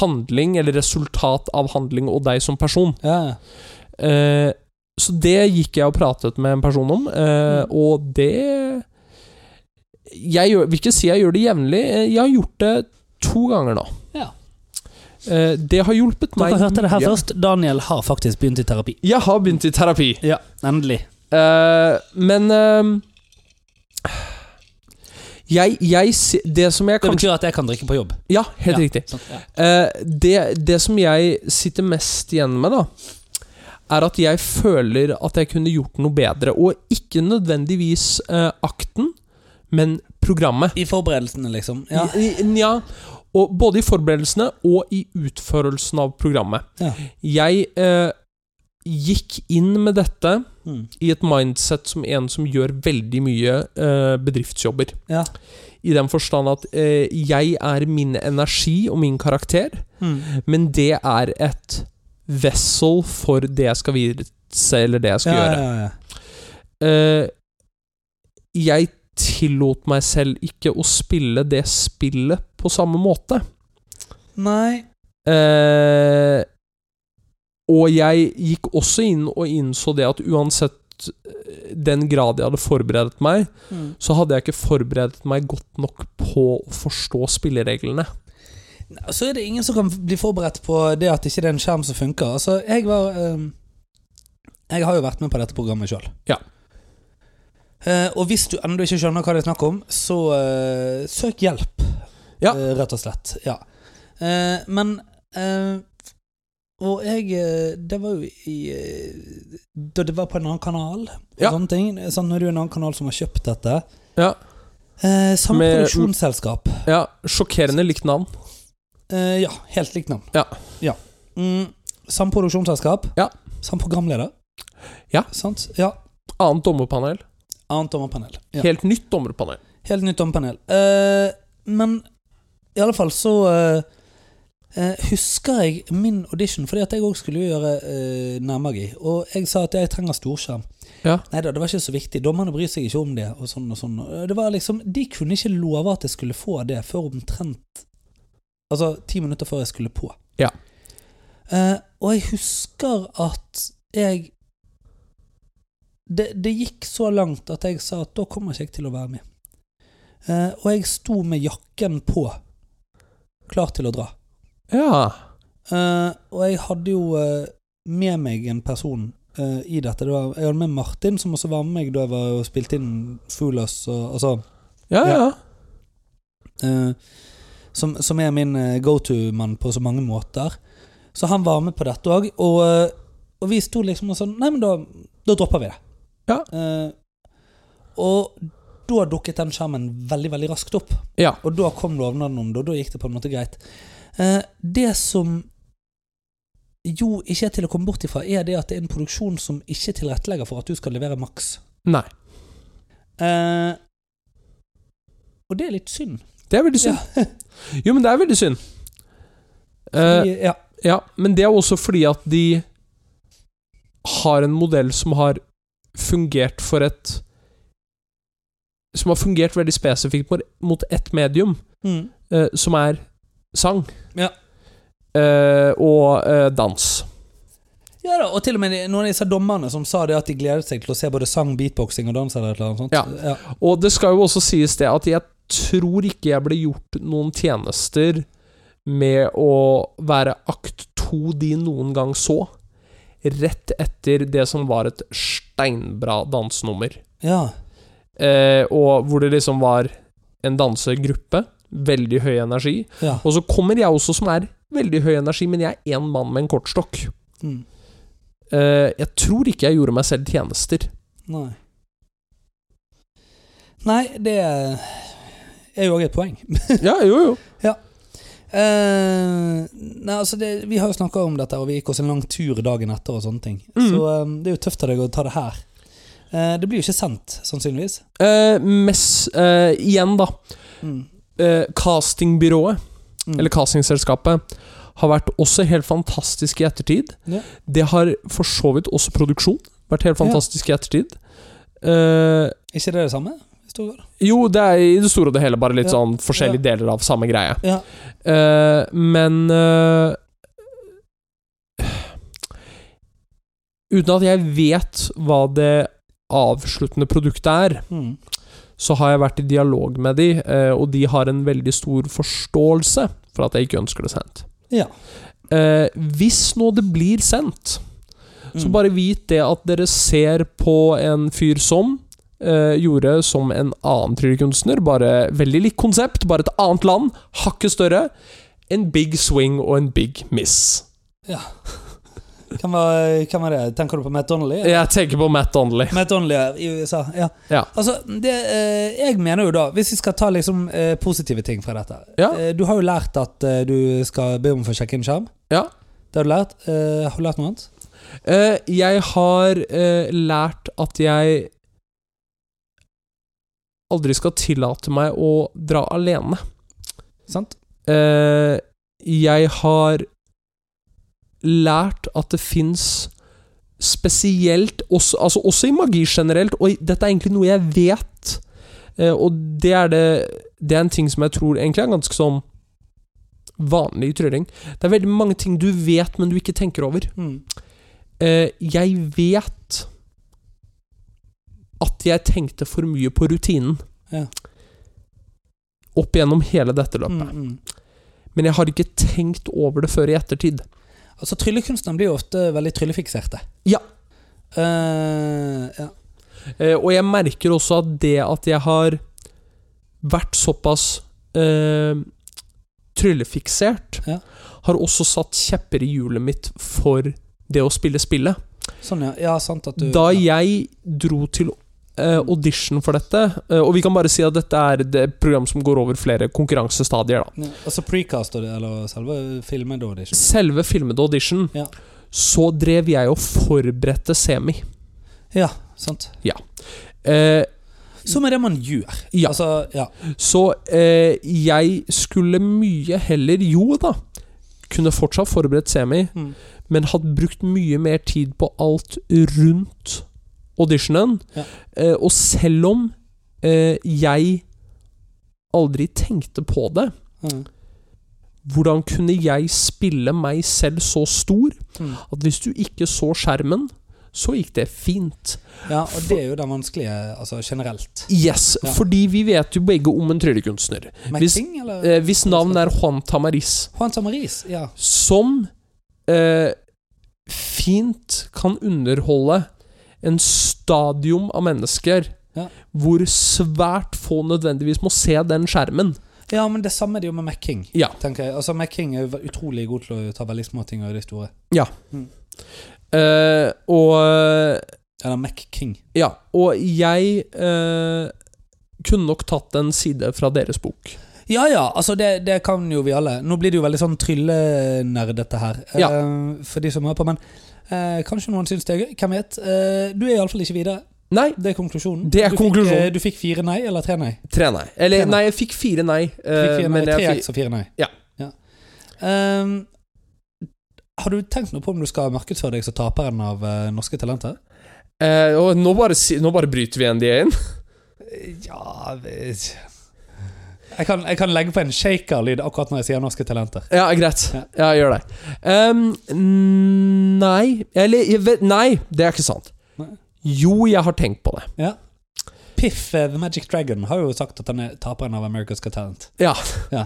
handling, eller resultat av handling, og deg som person. Ja, ja. Eh, så det gikk jeg og pratet med en person om, eh, Mm. og det Jeg gjør, vil ikke si jeg gjør det jevnlig. eh, Jeg har gjort det to ganger nå. Ja. Eh, det har hjulpet meg. Dere hørte det her mye. først. Daniel har faktisk begynt i terapi. Jeg har begynt i terapi. Ja, Endelig. Eh, men eh, jeg, jeg se- Det som jeg Det kanskje betyr at jeg kan drikke på jobb. Ja, helt Ja. riktig. Sant? Ja. Eh, det, det som jeg sitter mest igjen med, da, er at jeg føler at jeg kunne gjort noe bedre. Og ikke nødvendigvis eh, akten, men programmet. I forberedelsene, liksom. Ja. I, i, nja, og både i forberedelsene og i utførelsen av programmet. Ja. Jeg eh, gikk inn med dette Mm. i et mindset som en som gjør veldig mye eh, bedriftsjobber. Ja. I den forstand at eh, jeg er min energi og min karakter. Mm. Men det er et vessel for det jeg skal vise, eller det jeg skal ja, gjøre. ja, ja. Eh, jeg tillot meg selv ikke å spille det spillet på samme måte. Nei. Eh, og jeg gikk også inn og innså det at uansett eh, den grad jeg hadde forberedt meg, Mm. så hadde jeg ikke forberedt meg godt nok på å forstå spillereglene. Så er det ingen som kan bli forberedt på det at ikke det er en skjerm som funker. Altså, jeg var ehm, Jeg har jo vært med på dette programmet sjøl. Ja. Eh, og hvis du ennå ikke skjønner hva det er snakk om, så eh, søk hjelp. Ja. Eh, rett og slett. Ja. Eh, men eh, Og jeg eh, Det var jo i eh, og det var på en annen kanal. Og Ja. sånne ting. Sånn, når du er en annen kanal som har kjøpt dette. Ja. Eh, samme Med- produksjonsselskap. ja. Sjokkerende likt navn. Eh, ja, helt likt navn. Ja. Mm, samme produksjonsselskap. Ja. Samme programleder. Ja. Sant? Ja. Annet dommerpanel. Annet dommerpanel. Ja. Helt nytt dommerpanel. Helt nytt dommerpanel. Eh, men i alle fall så eh, eh, husker jeg min audition, fordi at jeg òg skulle jo gjøre eh, nærmagi. Og jeg sa at jeg trenger storskjerm. Ja. Nei da, det var ikke så viktig. Dommerne bryr seg ikke om det. Og sånn og sånn. Eh, Det var liksom, de kunne ikke love at jeg skulle få det før omtrent Altså ti minutter før jeg skulle på. Ja. Eh, og jeg husker at jeg det, det gikk så langt at jeg sa at da kommer ikke jeg til å være med. Eh, og jeg sto med jakken på, klar til å dra. Ja. Eh, og jeg hadde jo eh, med meg en person eh, i dette. Det var, jeg hadde med Martin, som også var med meg da jeg var og spilte inn Foolers. Og, altså, Ja, ja. eh, som, som er min eh, go-to-mann på så mange måter. Så han var med på dette òg. Og, eh, og vi sto liksom og sånn Nei, men da, da dropper vi det. Ja. Eh, og da dukket den skjermen veldig, veldig raskt opp. Ja. Og da kom lovnaden om det, og da gikk det på en måte greit. Eh, det som jo ikke er til å komme bort ifra, er det at det er en produksjon som ikke tilrettelegger for at du skal levere maks. Nei. Eh, og det er litt synd. Det er veldig synd. Jo, men det er veldig synd. Eh, Fordi- ja. ja, men det er også fordi at de har en modell som har fungert for et Som har fungert veldig spesifikt mot- mot ett medium, Mm. eh, som er sang. Ja. Eh, og eh, dans. Ja da, og til og med de- noen av disse dommerne som sa det at de gledet seg til å se både sang, beatboxing og dans eller et eller annet sånt. Ja. Og det skal jo også sies det at jeg tror ikke jeg ble gjort noen tjenester med å være akt to de noen gang så, rett etter det som var et steinbra dansenummer. Ja. Eh, og hvor det liksom var en dansegruppe, veldig høy energi. ja. Og så kommer jeg også som er veldig høy energi, men jeg er én mann med en kortstokk. Mm. Eh, jeg tror ikke jeg gjorde meg selv tjenester. Nei. Nei, det er jo òg et poeng. Ja, jo, jo. Eh, nei, altså det, vi har jo snakka om dette, og vi gikk oss en lang tur dagen etter og sånne ting. Mm. Så eh, det er jo tøft av deg å ta det her. Eh, det blir jo ikke sendt, sannsynligvis. Eh, mess, eh, igjen, da. Mm. eh, castingbyrået, Mm. eller castingselskapet, har vært også helt fantastisk i ettertid. Ja. Det har for så vidt også produksjon vært helt Ja. fantastisk i ettertid. Eh, ikke det det samme? I stor grad? jo, det er i det store og det hele bare litt Ja. sånn forskjellige deler av samme greie. Ja. Eh, men eh, Uten at jeg vet hva det avsluttende produktet er, Mm. så har jeg vært i dialog med de, eh, og de har en veldig stor forståelse for at jeg ikke ønsker det sendt. Ja. Eh, hvis nå det blir sendt, så Mm. bare vit det at dere ser på en fyr som eh, gjorde som en annen tryllekunstner, bare veldig likt konsept, bare et annet land, hakket større. En big swing og en big miss. Hvem var, hvem var det? Tenker du på Matt Donnelly? Jeg tenker på Matt Donnelly. Matt Donnelly er i USA, ja. Ja. Altså, det, eh, jeg mener jo da, hvis vi skal ta liksom eh, positive ting fra dette Ja. eh, Du har jo lært at eh, du skal be om å få sjekke inn skjerm. Ja. Det har du lært. Eh, har du lært noe annet? Eh, jeg har eh, lært at jeg aldri skal tillate meg å dra alene. Sant? Eh, jeg har lært at det fins spesielt også, altså også i magi generelt, og i- dette er egentlig noe jeg vet. eh, og det er det Det er en ting som jeg tror egentlig er ganske sånn vanlig i trylling. Det er veldig mange ting du vet, men du ikke tenker over. Mm. Eh, jeg vet at jeg tenkte for mye på rutinen. Ja. Opp gjennom hele dette Mm, løpet. mm. Men jeg har ikke tenkt over det før i ettertid. Altså, Tryllekunstnerne blir jo ofte veldig tryllefikserte. Ja. Eh, ja. Eh, og jeg merker også at det at jeg har vært såpass eh, tryllefiksert, Ja. har også satt kjepper i hjulet mitt for det å spille spillet. Sånn, ja. ja sant at du Da jeg dro til eh, audition for dette eh, Og vi kan bare si at dette er det program som går over flere konkurransestadier. Da. Ja, Altså precast og det, eller selve filmen da, det er ikke Selve filmede audition, Ja. så drev jeg og forberedte semi. Ja, sant. Eh, Som er det man gjør. Ja. Altså, ja. så eh, jeg skulle mye heller Jo da, kunne fortsatt forberedt semi, Mm. men hadde brukt mye mer tid på alt rundt auditionen. Ja. Eh, og selv om eh, jeg aldri tenkte på det, Mm. hvordan kunne jeg spille meg selv så stor Mm. at hvis du ikke så skjermen, så gikk det fint. ja. Og det er jo den vanskelige, altså generelt. Yes, Ja. fordi vi vet jo begge om en tryllekunstner. Hvis- Matching, eller? Eh, hvis navnet er Juan Tamariz, Juan Samaris, ja. som eh, fint kan underholde en stadium av mennesker Ja. hvor svært få nødvendigvis må se den skjermen. Ja, men det samme er det jo med Macking. Ja. Tenker jeg. Altså, Macking er jo ve- utrolig god til å ta veldig små ting og gjøre de store. Eh, og Eller Mac-King. Ja, og jeg eh, kunne nok tatt en side fra deres bok. Ja ja, altså det, det kan jo vi alle. Nå blir det jo veldig sånn tryllenerdete her, eh, Ja. for de som hører på. Men eh, kanskje noen syns det er gøy. Hvem vet? Eh, du er iallfall ikke videre. Nei, Det er konklusjonen. Det er du Fikk, konklusjonen. eh, du fikk fire nei, eller tre nei? tre nei. Eller Tre nei. nei, jeg fikk fire nei. Du eh, fikk fire nei, men jeg tre fikk- x og fire nei. Ja. Ehm, har du tenkt noe på om du skal markedsføre deg som taperen av eh, Norske Talenter? Eh, og nå bare, si- nå bare bryter vi NDA-en. Ja Jeg kan, jeg kan legge på en shaker-lyd akkurat når jeg sier Norske Talenter. Ja, greit. Ja. Ja, gjør det. Ehm, nei Eller jeg vet, Nei, det er ikke sant. Nei. Jo, jeg har tenkt på det. Piff eh, The Magic Dragon har jo sagt at han er taperen av America's Got Talent. Ja.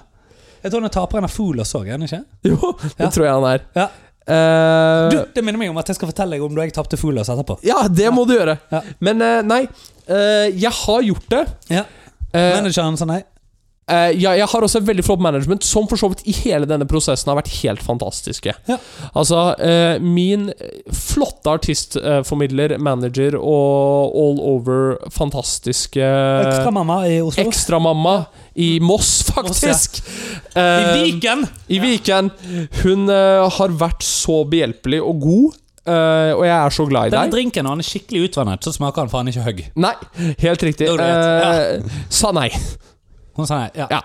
Jeg tror han er taperen av Foolers òg, er han ikke? Jo, det Ja. tror jeg han er. Ja. Eh, Du, det minner meg om at jeg skal fortelle deg om da jeg tapte Foolers etterpå. ja, det må du gjøre. Ja. Men eh, nei, eh, jeg har gjort det. Ja. Eh, Manageren sa nei. Eh, ja, jeg har også et veldig flott management, som for så vidt i hele denne prosessen har vært helt fantastiske. Ja. Altså, eh, min flotte artistformidler, manager og all over fantastiske Ekstramamma i Oslo. Ekstramamma i Moss, faktisk! Mm. I Eh, Viken! I Viken. Hun eh, har vært så behjelpelig og god, eh, og jeg er så glad i Denne deg. drinken når han er skikkelig utvannet, så smaker han faen ikke høgg. Nei, helt riktig. Det var Eh, greit. sa nei. Hun sa nei. Ja. Ja.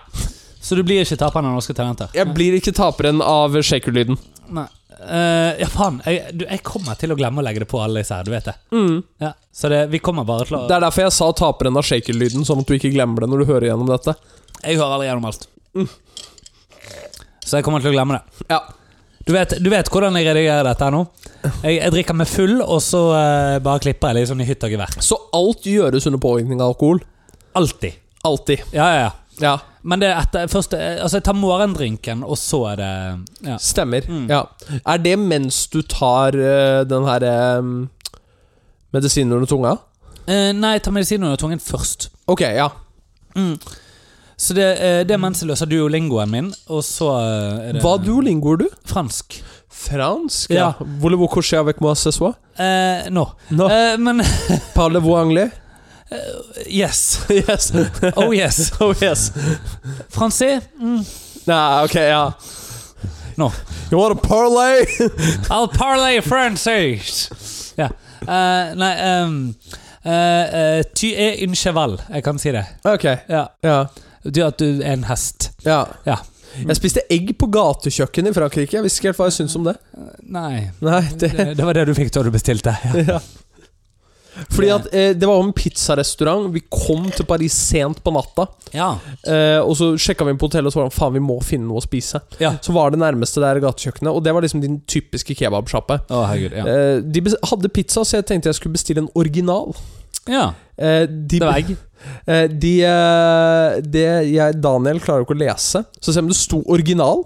Så du blir ikke taperen av Norske Talenter? Jeg blir ikke taperen av shakerlyden. Nei. Eh, ja, faen. Jeg, du, jeg kommer til å glemme å legge det på alle disse her, du vet det. Mm. Ja. Så det, vi kommer bare til å Det er derfor jeg sa taperen av shaker-lyden, sånn at du ikke glemmer det når du hører gjennom dette. Jeg hører alle gjennom alt. Mm. Så jeg kommer til å glemme det. Ja. Du vet, du vet hvordan jeg redigerer dette her nå? Jeg, jeg drikker meg full, og så eh, bare klipper jeg liksom i hytt og gevær. Så alt gjøres under påvirkning av alkohol. Alltid. Alltid. Ja, ja, ja. Ja. Men det er etter først, eh, Altså, jeg tar morgendrinken, og så er det ja. Stemmer. Mm. Ja. Er det mens du tar eh, den her eh, medisinen under tunga? Eh, Nei, jeg tar medisin under tungen først. Ok, ja. Mm. Så det, eh, det er mens jeg løser duolingoen min, og så eh, er det Hva duolingoer du? Fransk. Fransk? Ja. Voulez-vous coucher avec moi ce soir? Eh, Nå. No. Eh, men Parlez-vous anglais? Yes. Yes. Oh yes. oh yes. Francais? Mm. Nei, ok, ja. No. You want to parlay? I'll parlay Francais. Ja. Eh, nei ehm, eh, eh, Tu es un cheval. Jeg kan si det. ok, Ja. ja. Du at du er en hest. Ja. Ja. Jeg spiste egg på gatekjøkken i Frankrike. Jeg visste ikke helt hva jeg syntes om det. Nei. Nei, det, Det, det var det du fikk da du bestilte. Ja. ja. Fordi at eh, Det var jo en pizzarestaurant. Vi kom til Paris sent på natta. ja. Eh, og Så sjekka vi på hotellet og så var det faen vi må finne noe å spise. Ja. Så var det nærmeste der gatekjøkkenet, og det var liksom din typiske kebabsjappe. Å, herregud. Ja. Eh, de bes- hadde pizza, så jeg tenkte jeg skulle bestille en original. ja. Eh, de, Det var egg. eh, de, eh, det jeg, Daniel, klarer jo ikke å lese. Så selv om det sto original,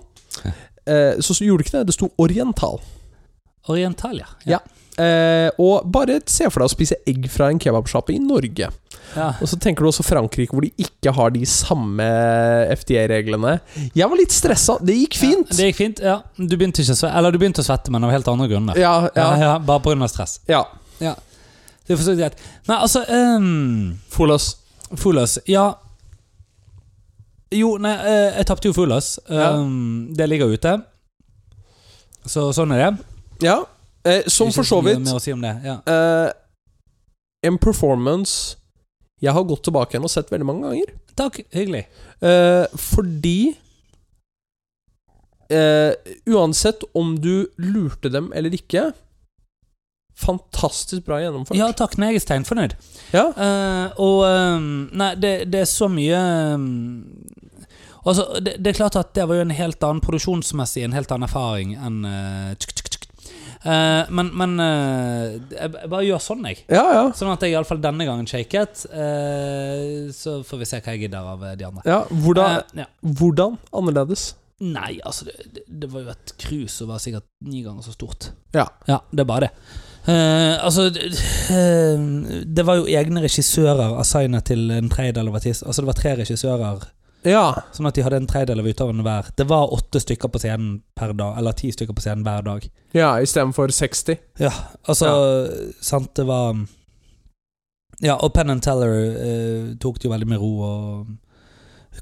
eh, så, så gjorde det ikke det. Det sto oriental. Oriental, ja. Ja. Eh, og bare se for deg å spise egg fra en kebabsjappe i Norge. Ja. Og så tenker du også Frankrike, hvor de ikke har de samme FDA-reglene. Jeg var litt stressa. Det gikk fint. Det gikk fint, ja. Du begynte, ikke å sve- eller, du begynte å svette, men av helt andre grunner. Ja, Ja, ja. ja, bare pga. stress. ja. Det er for så vidt greit. Nei, altså um, Folos. Folos, ja Jo, nei, eh, jeg tapte jo Folos. Ja. Um, Det ligger ute. Så sånn er det. Ja. Eh, som Ikke for så mye vidt Mer å si om det. Ja. eh, En performance jeg har gått tilbake igjen og sett veldig mange ganger. Takk, hyggelig. Eh, fordi eh, Uansett om du lurte dem eller ikke Fantastisk bra gjennomført. Ja, takk. Nei, jeg er steinfornøyd. Ja. Eh, og ehm, Nei, det, det er så mye ehm, Altså, det, det er klart at det var jo en helt annen produksjonsmessig, en helt annen erfaring enn eh, tsk, tsk, tsk. Eh, Men, men eh, jeg, jeg bare gjør sånn, jeg. ja, ja. Sånn at jeg iallfall denne gangen shaket. eh, så får vi se hva jeg gidder av eh, de andre. ja. Hvordan, Eh, ja. hvordan annerledes? Nei, altså det, det, det var jo et cruise som var sikkert ni ganger så stort. Ja. det er bare det. Eh, altså det, eh, det var jo egne regissører assignet til en tredjedel av artist. Altså det var tre regissører, Ja. sånn at de hadde en tredjedel av utøverne hver. Det var åtte stykker på scenen per dag, eller ti stykker på scenen hver dag. Ja, istedenfor 60. Ja, altså Sant, det var Ja, og Penn and Teller eh, tok det jo veldig med ro og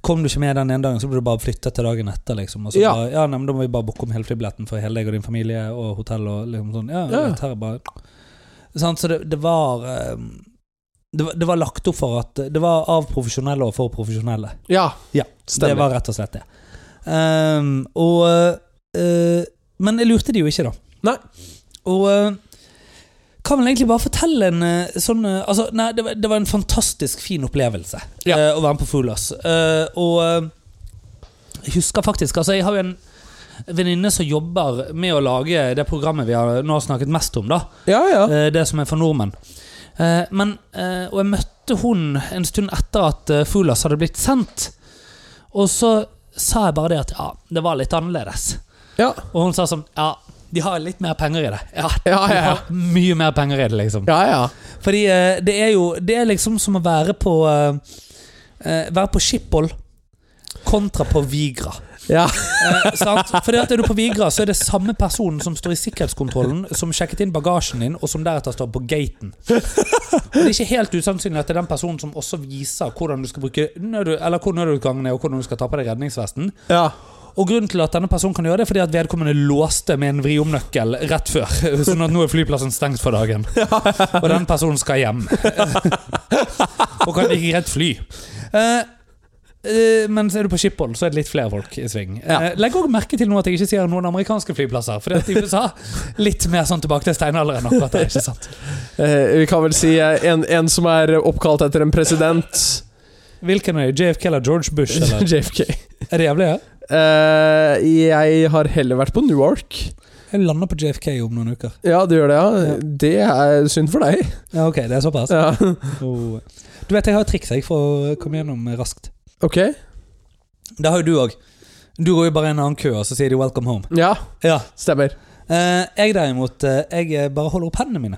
Kom du ikke med den ene dagen, så ble du bare flytta til dagen etter, liksom. Og så Ja. bare, ja, nei, men da må vi bare booke om hele flybilletten for hele deg og din familie og hotell og liksom sånn. Ja, Ja. dette her er bare Sant, så det, det var eh, det var, det var lagt opp for at Det var av profesjonelle og for profesjonelle. Ja, Ja, stemmer. Det var rett og slett det. Ehm, og eh, Men jeg lurte de jo ikke, da. Nei. Og eh, kan vel egentlig bare fortelle en eh, sånn eh, altså, Nei, det var, det var en fantastisk fin opplevelse Ja. eh, å være med på Foolers. Eh, og eh, jeg husker faktisk Altså, jeg har jo en venninne som jobber med å lage det programmet vi har, nå har snakket mest om, da. Ja, ja. Eh, Det som er for nordmenn. Eh, Men, eh, og jeg møtte hun en stund etter at eh, Fulas hadde blitt sendt. Og så sa jeg bare det at ja, det var litt annerledes. Ja, Og hun sa sånn ja, de har litt mer penger i det. Ja, ja. de ja. har mye mer penger i det, liksom. ja, ja. Fordi eh, det er jo Det er liksom som å være på eh, eh, Være på Schiphol kontra på Vigra. ja. Eh, sant? Fordi at er du på Vigra, så er det samme personen som står i sikkerhetskontrollen, som sjekket inn bagasjen din, og som deretter står på gaten. Og det er ikke helt usannsynlig at det er den personen som også viser hvordan du skal bruke nød, eller hvor nødutgangen er, og hvordan du skal ta på deg redningsvesten. ja. Og grunnen til at denne personen kan gjøre det, er fordi at vedkommende låste med en vriomnøkkel rett før. Sånn at nå er flyplassen stengt for dagen. Og den personen skal hjem. og kan ikke greit fly. Eh, eh, men så er du på Schiphol, så er det litt flere folk i sving. Ja. Eh, legg også merke til nå at jeg ikke sier noen amerikanske flyplasser. For det er i USA litt mer sånn tilbake til steinalderen. akkurat der, ikke sant? Eh, vi kan vel si eh, en, en som er oppkalt etter en president. Hvilken er det? JFK eller George Bush? Eller? JFK. Er det jævlig? Ja? Eh, jeg har heller vært på Newark. Jeg lander på JFK om noen uker. Ja, du gjør det, ja. Altså. Ja. Det er synd for deg. Ja, ok, det er såpass. Ja. Oh. Du vet, jeg har et triks jeg for å komme gjennom raskt. Ok. Det har jo du òg. Du går jo bare i en annen kø, og så sier de 'welcome home'. Ja, Ja. stemmer. Eh, jeg derimot, eh, jeg eh, bare holder opp hendene mine.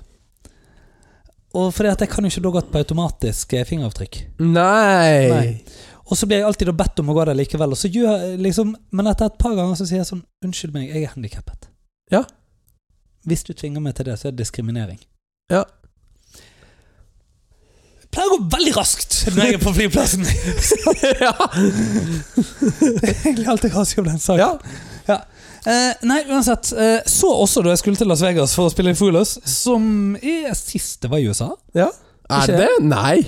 Og fordi at jeg kan jo ikke da gått på automatisk eh, fingeravtrykk. Nei. Nei. Og så blir jeg alltid da bedt om å gå der likevel, og så gjør jeg liksom Men etter et par ganger så sier jeg sånn 'Unnskyld meg, jeg er handikappet'. Ja. Hvis du tvinger meg til det, så er det diskriminering. Ja. Jeg pleier å gå veldig raskt når jeg er på flyplassen. ja. Egentlig alt jeg har å si om den saken. ja. Eh, nei, uansett. eh, så også da jeg skulle til Las Vegas for å spille i Foolers, som er sist det var i USA. Er det? Nei.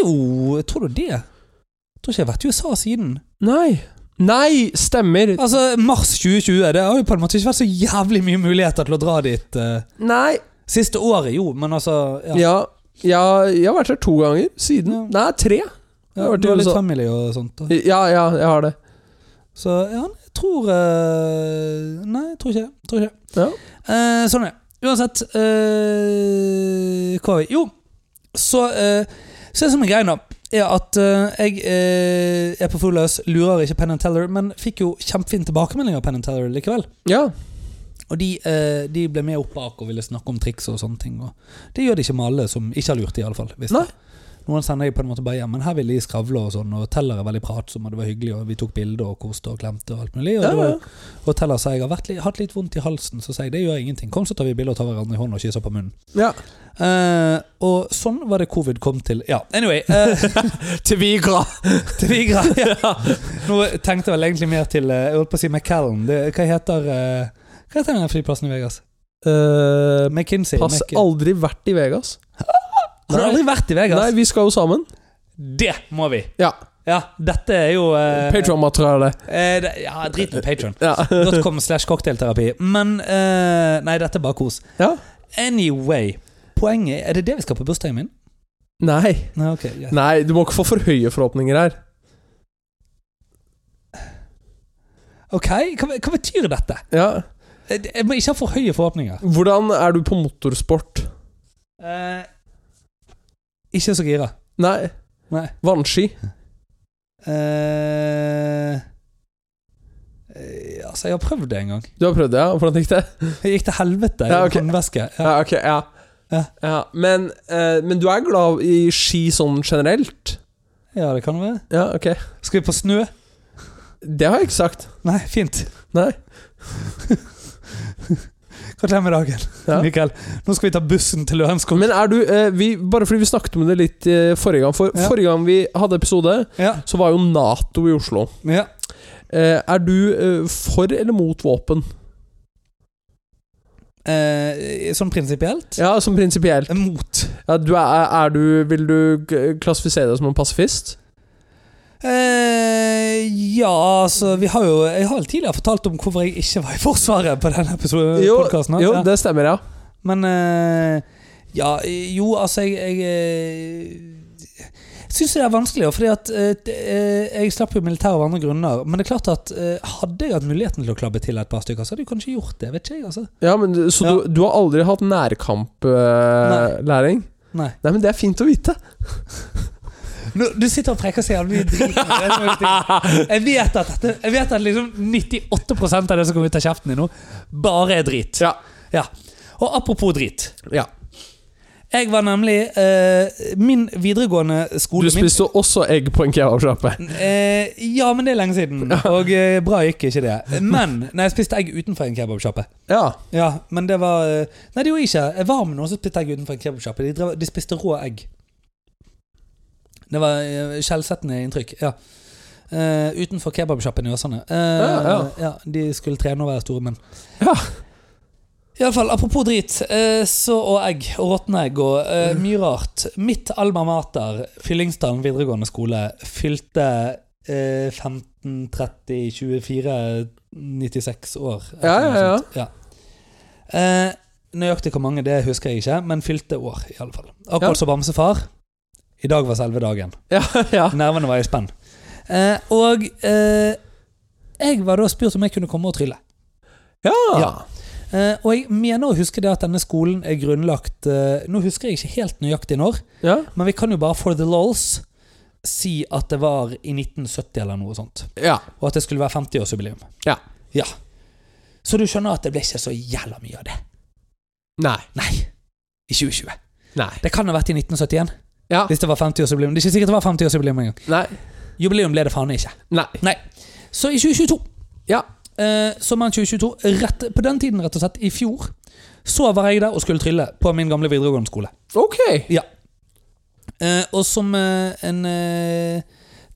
Jo, jeg tror du det? Jeg tror ikke jeg har vært i USA siden. Nei. Ah. Nei, stemmer. Altså, mars 2020. Det har jo på en måte ikke vært så jævlig mye muligheter til å dra dit. eh. Nei. siste året, jo, men altså Ja. Ja. ja. Jeg har vært her to ganger siden. Nei, tre. jeg har vært i du har litt USA. familie og sånt. Da. Ja, ja, jeg har det. Så ja, jeg tror eh, Nei, jeg tror ikke det. Tror ikke det. Ja. Eh, sånn er det. Uansett eh, Hva var vi? Jo, så eh, Så det som er greia nå, er at eh, jeg eh, er på full løs, lurer ikke Penn Teller, men fikk jo kjempefin tilbakemelding av Penn Teller likevel. Ja. Og de, eh, de ble med opp bak og ville snakke om triks og sånne ting. Og det gjør de ikke med alle som ikke har lurt, iallfall. Nei. Noen sender jeg på en måte bare hjem, men her ville de skravle og sånn, og Teller er veldig pratsom, og det var hyggelig, og vi tok bilder og koste og klemte og alt mulig. Og, Ja, det ja. var, og Teller sa jeg har vært, litt- hatt litt vondt i halsen, så sier jeg det gjør ingenting. Kom, så tar vi bilder og tar hverandre i hånden og kysser på munnen. Ja. Eh, og sånn var det covid kom til. Ja, anyway. eh, Tvigra. til vi greier. Nå tenkte jeg vel egentlig mer til eh, Jeg holdt på å si McCallan. Det, hva heter eh, Hva heter den flyplassen i Vegas? Eh, McKinsey. Eh, Pass Mc- aldri vært i Vegas. Har du aldri vært i Vegas? Nei, vi skal jo sammen. Det må vi! Ja. Ja, dette er jo eh, Patron-materiale. eh, det- ja, drit i Patron. Ja. .com slash cocktailterapi. Men eh, Nei, dette er bare kos. ja. Anyway. Poenget Er det det vi skal på bursdagen min? Nei. Nei, ok, greit. Nei, du må ikke få for høye forhåpninger her. Ok, hva, hva betyr dette? Ja. Jeg jeg må ikke ha for høye forhåpninger. Hvordan er du på motorsport? Eh, ikke så gira. Nei. Nei. Vannski? eh eh, altså, jeg har prøvd det en gang. Du har prøvd det, ja? Hvordan gikk det? Jeg gikk til helvete i Ja, ok. håndveske. Ja. Ja, ok, ja. Ja. Ja, men, eh, men du er glad i ski sånn generelt? ja, det kan det være. Ja, ok. Skal vi på snø? Det har jeg ikke sagt. Nei, fint. Nei. Gratulerer med dagen, Ja. Mikael. Nå skal vi ta bussen til Lørenskog. Men er du eh, vi, Bare fordi vi snakket om det litt eh, forrige gang For Ja. forrige gang vi hadde episode, Ja. så var jo Nato i Oslo. ja. Eh, er du eh, for eller mot våpen? Eh, sånn prinsipielt? Eh, Ja, som prinsipielt. Mot. Ja, du er, er du Vil du g- klassifisere deg som en pasifist? Eh, ja, altså vi har jo, Jeg har vel tidligere fortalt om hvorfor jeg ikke var i Forsvaret på denne Jo, podkasten. jo det stemmer, ja. Men eh, Ja, jo, altså Jeg, jeg syns det er vanskelig, fordi at eh, det, eh, jeg slapp jo militæret av andre grunner. Men det er klart at eh, hadde jeg hatt muligheten til å klabbe til et par stykker, så hadde jeg kanskje gjort det. vet ikke jeg, altså. ja men, du- så Ja. Du, du har aldri hatt nærkamplæring? Eh, læring? Nei. Nei, men det er fint å vite. Nå, du sitter og preker så jævlig mye drit. nå, det er så viktig. Jeg vet at, dette, jeg vet at liksom 98 av det som kommer ut av kjeften din nå, bare er drit. Ja. Ja. Og apropos drit. ja. Jeg var nemlig eh, Min videregående skole Du spiste også egg på en kebabsjappe. Eh, ja, men det er lenge siden. Og eh, bra gikk ikke det. Men Nei, jeg spiste egg utenfor en kebabsjappe. Ja. Ja, men det var eh, Nei, det gjorde jeg ikke. Jeg var med noen som spiste egg utenfor en kebabsjappe. De, drev- de spiste rå egg. Det var eh, skjellsettende inntrykk. Ja. Eh, utenfor kebabsjappen i Åsane. Eh, Ja, ja. ja, de skulle trene og være store menn. Ja. Iallfall, apropos drit, eh, så og egg, og råtne egg og eh, Mm. mye rart. Mitt alma mater, Fyllingsdalen videregående skole, fylte eh, 15-30-24-96 år. eller Ja, noe ja, ja. sånt. ja. Eh, nøyaktig hvor mange, det husker jeg ikke, men fylte år, i alle fall. Akkurat Ja. som bamsefar. I dag var selve dagen. Ja, ja. Nervene var i spenn. Eh, og eh, jeg var da spurt om jeg kunne komme og trylle. ja. Eh, og jeg mener å huske det at denne skolen er grunnlagt eh, Nå husker jeg ikke helt nøyaktig når, ja. men vi kan jo bare for the lols si at det var i 1970 eller noe sånt. Ja. Og at det skulle være 50-årsjubileum. Ja. ja. Så du skjønner at det ble ikke så jævla mye av det. Nei. Nei. I 2020. Nei. Det kan ha vært i 1971. Ja. Hvis det var 50-årsjubileum. Det er ikke sikkert det var 50-årsjubileum engang. Nei. Jubileum ble det faen ikke. Nei. Nei. Så i 2022 Ja. eh, Sommeren 2022, rett, på den tiden rett og slett, i fjor, så var jeg der og skulle trylle på min gamle videregående skole. Ok. Ja. Eh, og som eh, en eh,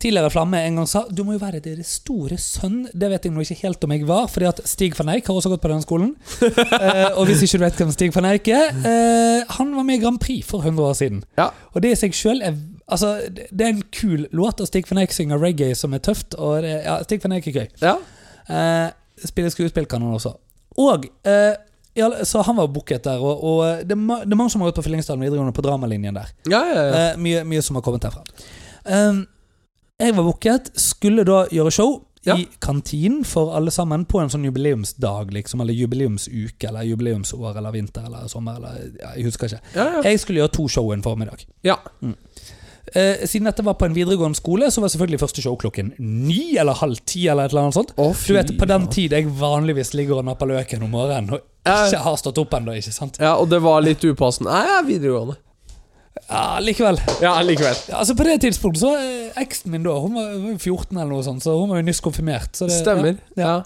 tidligere flamme en gang sa, du må jo være deres store sønn. Det vet jeg nå ikke helt om jeg var, fordi at Stig van Eijk har også gått på denne skolen. Eh, og hvis ikke du vet hvem Stig van Eijk er, eh, han var med i Grand Prix for 100 år siden. Ja. Og det i seg sjøl er Altså, det det er en kul låt, og Stig van Eijk synger reggae som er tøft, og det, ja, Stig van Eijk er gøy. Ja. Eh, spiller skuespill kan han også. Og eh, i alle- Så han var booket der, og, og det, er ma- det er mange som har gått på Fyllingsdalen videregående på dramalinjen der. Ja, ja, ja. Eh, mye, mye som har kommet derfra. Um, jeg var booket, skulle da gjøre show Ja. i kantinen for alle sammen på en sånn jubileumsdag, liksom, eller jubileumsuke, eller jubileumsår, eller vinter, eller sommer, eller ja, Jeg husker ikke. Ja, ja. Jeg skulle gjøre to show en formiddag. ja. Eh, siden dette var på en videregående skole, så var selvfølgelig første show klokken ni eller halv ti, eller et eller annet sånt. Å, Du vet, På den faen. tid jeg vanligvis ligger og napper løken om morgenen og Ja. ikke har stått opp ennå, ikke sant? Ja, og det var litt upassende. Nei, jeg er videregående. Ja, likevel. Ja, likevel. Altså På det tidspunktet så eh, Eksen min da Hun var hun var jo 14 eller noe sånt, så hun var jo nyss konfirmert. Så det, Stemmer. Ja. Ja.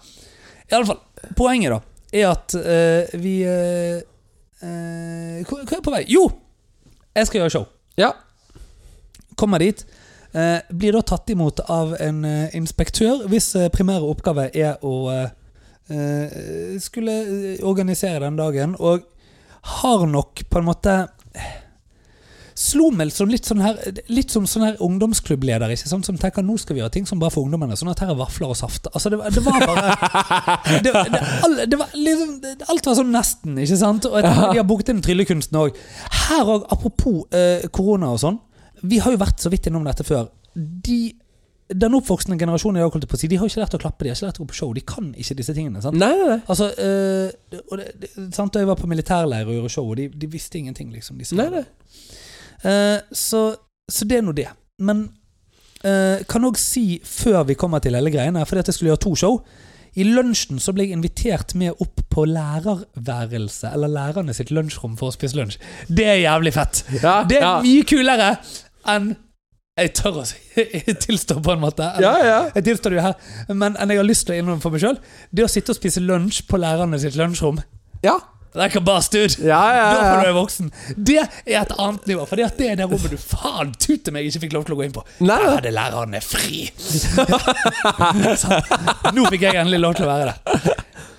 I alle fall, Poenget da er at eh, vi eh, eh, Hvor hvor er jeg på vei? Jo! Jeg skal gjøre show. Ja. Kommer dit. eh, blir da tatt imot av en eh, inspektør hvis eh, primære oppgave er å eh, eh, skulle eh, organisere den dagen, og har nok på en måte eh, Slo meg som litt sånn her Litt som sånn her ungdomsklubbleder ikke sant? som tenker nå skal vi gjøre ting som bare for ungdommene. Sånn at her er vafler og saft. Altså det, var- det var bare det, det, all, det var liksom, det, Alt var sånn nesten, ikke sant? Og jeg tenker, de har booket inn tryllekunsten òg. Her òg, apropos eh, korona og sånn. Vi har jo vært så vidt innom dette før. De, den oppvoksende generasjonen i dag, holdt jeg på å si, de har jo ikke lært å klappe, de har ikke lært å gå på show. De kan ikke disse tingene. sant? Nei, nei, nei. Altså, eh, og det, det, sant? Da jeg var på militærleir og gjorde show, og de, de visste ingenting, liksom. De sa- nei, nei. Eh, så, så det er nå det. Men eh, kan òg si, før vi kommer til hele greien her, fordi at jeg skulle gjøre to show I lunsjen så ble jeg invitert med opp på lærerværelset, eller lærerne sitt lunsjrom for å spise lunsj. Det er jævlig fett! Ja, Det er ja. mye kulere enn Jeg tør å si- tilstå, på en måte. ja, ja. Jeg tilstår det jo her, men enn jeg har lyst til å innrømme for meg sjøl. Det å sitte og spise lunsj på lærerne sitt lunsjrom Ja, Det er kabas, dude! ja, ja. Da ja. får du er voksen. Det er et annet nivå. For det er det rommet du faen tute meg ikke fikk lov til å gå inn på. Nei, Der nei. er det læreren er fri! sånn. Nå fikk jeg endelig lov til å være der.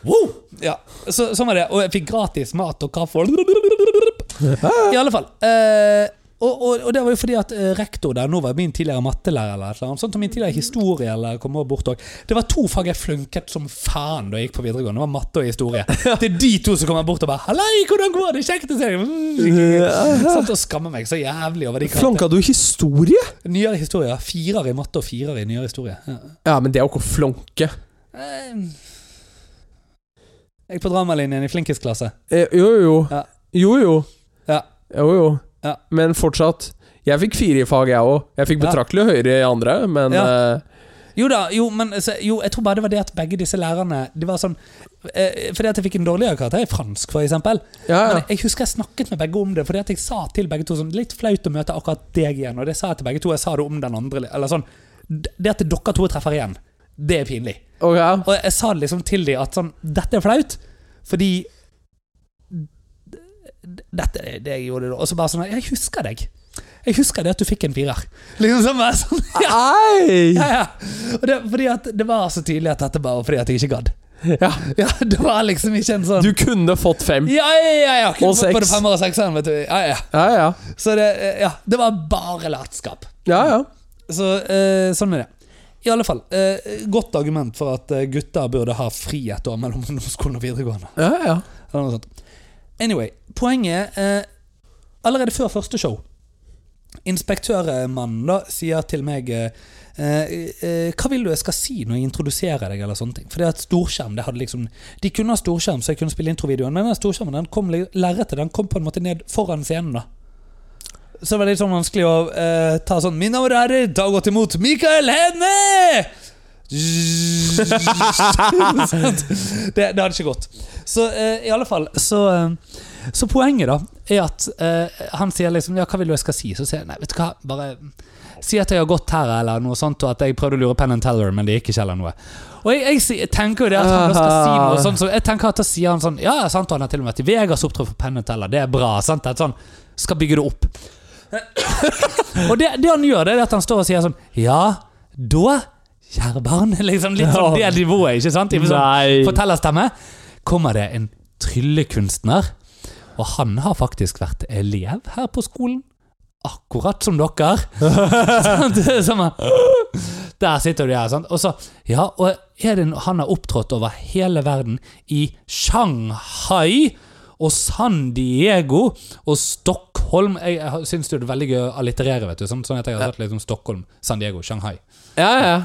Wow! Ja, så, sånn var det. Og jeg fikk gratis mat og kaffe. og- I alle fall. Eh, og, og, og det var jo fordi at eh, rektor der nå var min tidligere mattelærer eller et eller annet, sånt, og min tidligere historielærer kom også bort òg. Det var to fag jeg flunket som faen da jeg gikk på videregående. Det var matte og historie. Det er de to som kommer bort og bare 'Hallei, hvordan går det? Kjekt å se deg!' Mm, Satt og skammer meg så jævlig over de karakterene. Flonka du historie? Nyere historie. Firer i matte og firer i nyere historie. Ja. Ja, men det er jo ikke å flonke. Eh, Jeg på dramalinjen i flinkisklasse. Eh, jo, jo. Ja. Jo, jo. Ja. Jo, jo. Ja. Men fortsatt. Jeg fikk fire i fag, jeg òg. Jeg fikk Ja. betraktelig høyere i andre, men eh, Jo da, jo, men altså, jo, jeg tror bare det var det at begge disse lærerne Det var sånn eh, Fordi at jeg fikk en dårligere karakter i fransk, for eksempel. ja, ja. Men jeg husker jeg snakket med begge om det, fordi at jeg sa til begge to sånn Litt flaut å møte akkurat deg igjen, og det sa jeg til begge to. Jeg sa det om den andre, eller sånn. Det at dere to treffer igjen, det er pinlig. Ok. Og jeg sa det liksom til dem at sånn Dette er flaut, fordi d- d- Dette er det jeg gjorde da. Og så bare sånn Jeg husker deg. Jeg husker det at du fikk en firer. Liksom sånn, bare sånn Ei! ja, ja. Og det, fordi at det var så tydelig at dette bare var fordi at jeg ikke gadd. Ja. Ja, det var liksom ikke en sånn Du kunne fått fem. Ja, ja, ja! ja. Og Både seks. femmer og sekseren, vet du. Ja, ja. Ja, ja. Så det, eh, ja, det var bare latskap. Ja, ja. Så eh, sånn er det. I alle fall, eh, godt argument for at eh, gutter burde ha frihet da mellom ungdomsskolen og videregående. ja, ja. Eller noe sånt. Anyway, poenget eh, Allerede før første show Inspektørmannen da sier til meg eh, eh, eh, Hva vil du jeg skal si når jeg introduserer deg? Eller sånne ting For det at storskjerm det hadde liksom De kunne ha storskjerm, så jeg kunne spille introvideoen. Men den storskjermen den kom, li- lerretet den kom på en måte ned foran scenen. da Så det var litt sånn vanskelig å eh, ta sånn Mine damer og herrer, ta godt imot Mikael Henne! Sant? det, det hadde ikke gått. Så eh, i alle fall så, eh, så poenget da er at eh, han sier liksom Ja, hva vil du jeg skal si? Så sier jeg nei, vet du hva, bare Si at jeg har gått her, eller noe sånt, og at jeg prøvde å lure Penn and Teller, men det gikk ikke, eller noe. Og jeg, jeg, si- tenker jo det at han da skal si noe sånt, så jeg tenker at da sier han sånn Ja, ja, sant, og han har til og med vært i Vegas opptrådt for Penn and Teller, det er bra, sant? At sånn skal bygge det opp. og det, det han gjør, det er at han står og sier sånn Ja, da, kjære barn, liksom litt sånn det nivået, ikke sant? I sånn, Nei. fortellerstemme, kommer det en tryllekunstner. Og han har faktisk vært elev her på skolen. Akkurat som dere. Sant? Det er som at- Der sitter du her, sant. Og så, ja, og er det, no- han har opptrådt over hele verden. I Shanghai og San Diego og Stockholm. Jeg, jeg syns det er veldig gøy å allitterere, vet du. Sånn, sånn at jeg har sagt liksom Stockholm, San Diego, Shanghai. Ja, ja.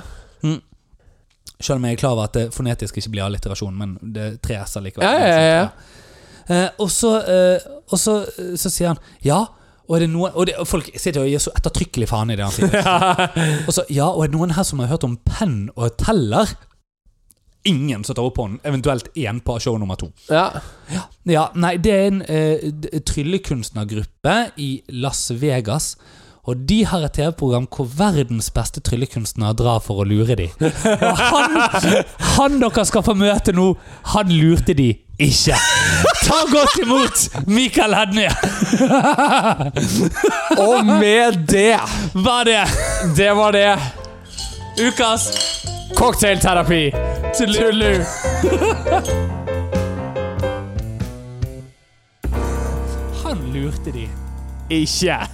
Selv om jeg er klar over at det fonetisk ikke blir alliterasjon, men det er tre s-er likevel. Ja, ja, ja, ja. Eh, og så, eh, og så, eh, så sier han ja. Og, er det noen, og, det, og folk sitter og gir så ettertrykkelig faen i det han sier. Og så, ja, og er det noen her som har hørt om penn og teller? ingen som tar opp hånden. Eventuelt én på show nummer to. Ja. Ja, nei, det er en eh, d- tryllekunstnergruppe i Las Vegas. Og de har et TV-program hvor verdens beste tryllekunstner drar for å lure de. Og han, han dere skal få møte nå, han lurte de ikke. Ta godt imot Mikael Hedne! Og med det Var det Det var det. ukas Cocktailterapi. Tullu. Han lurte de. Ikke.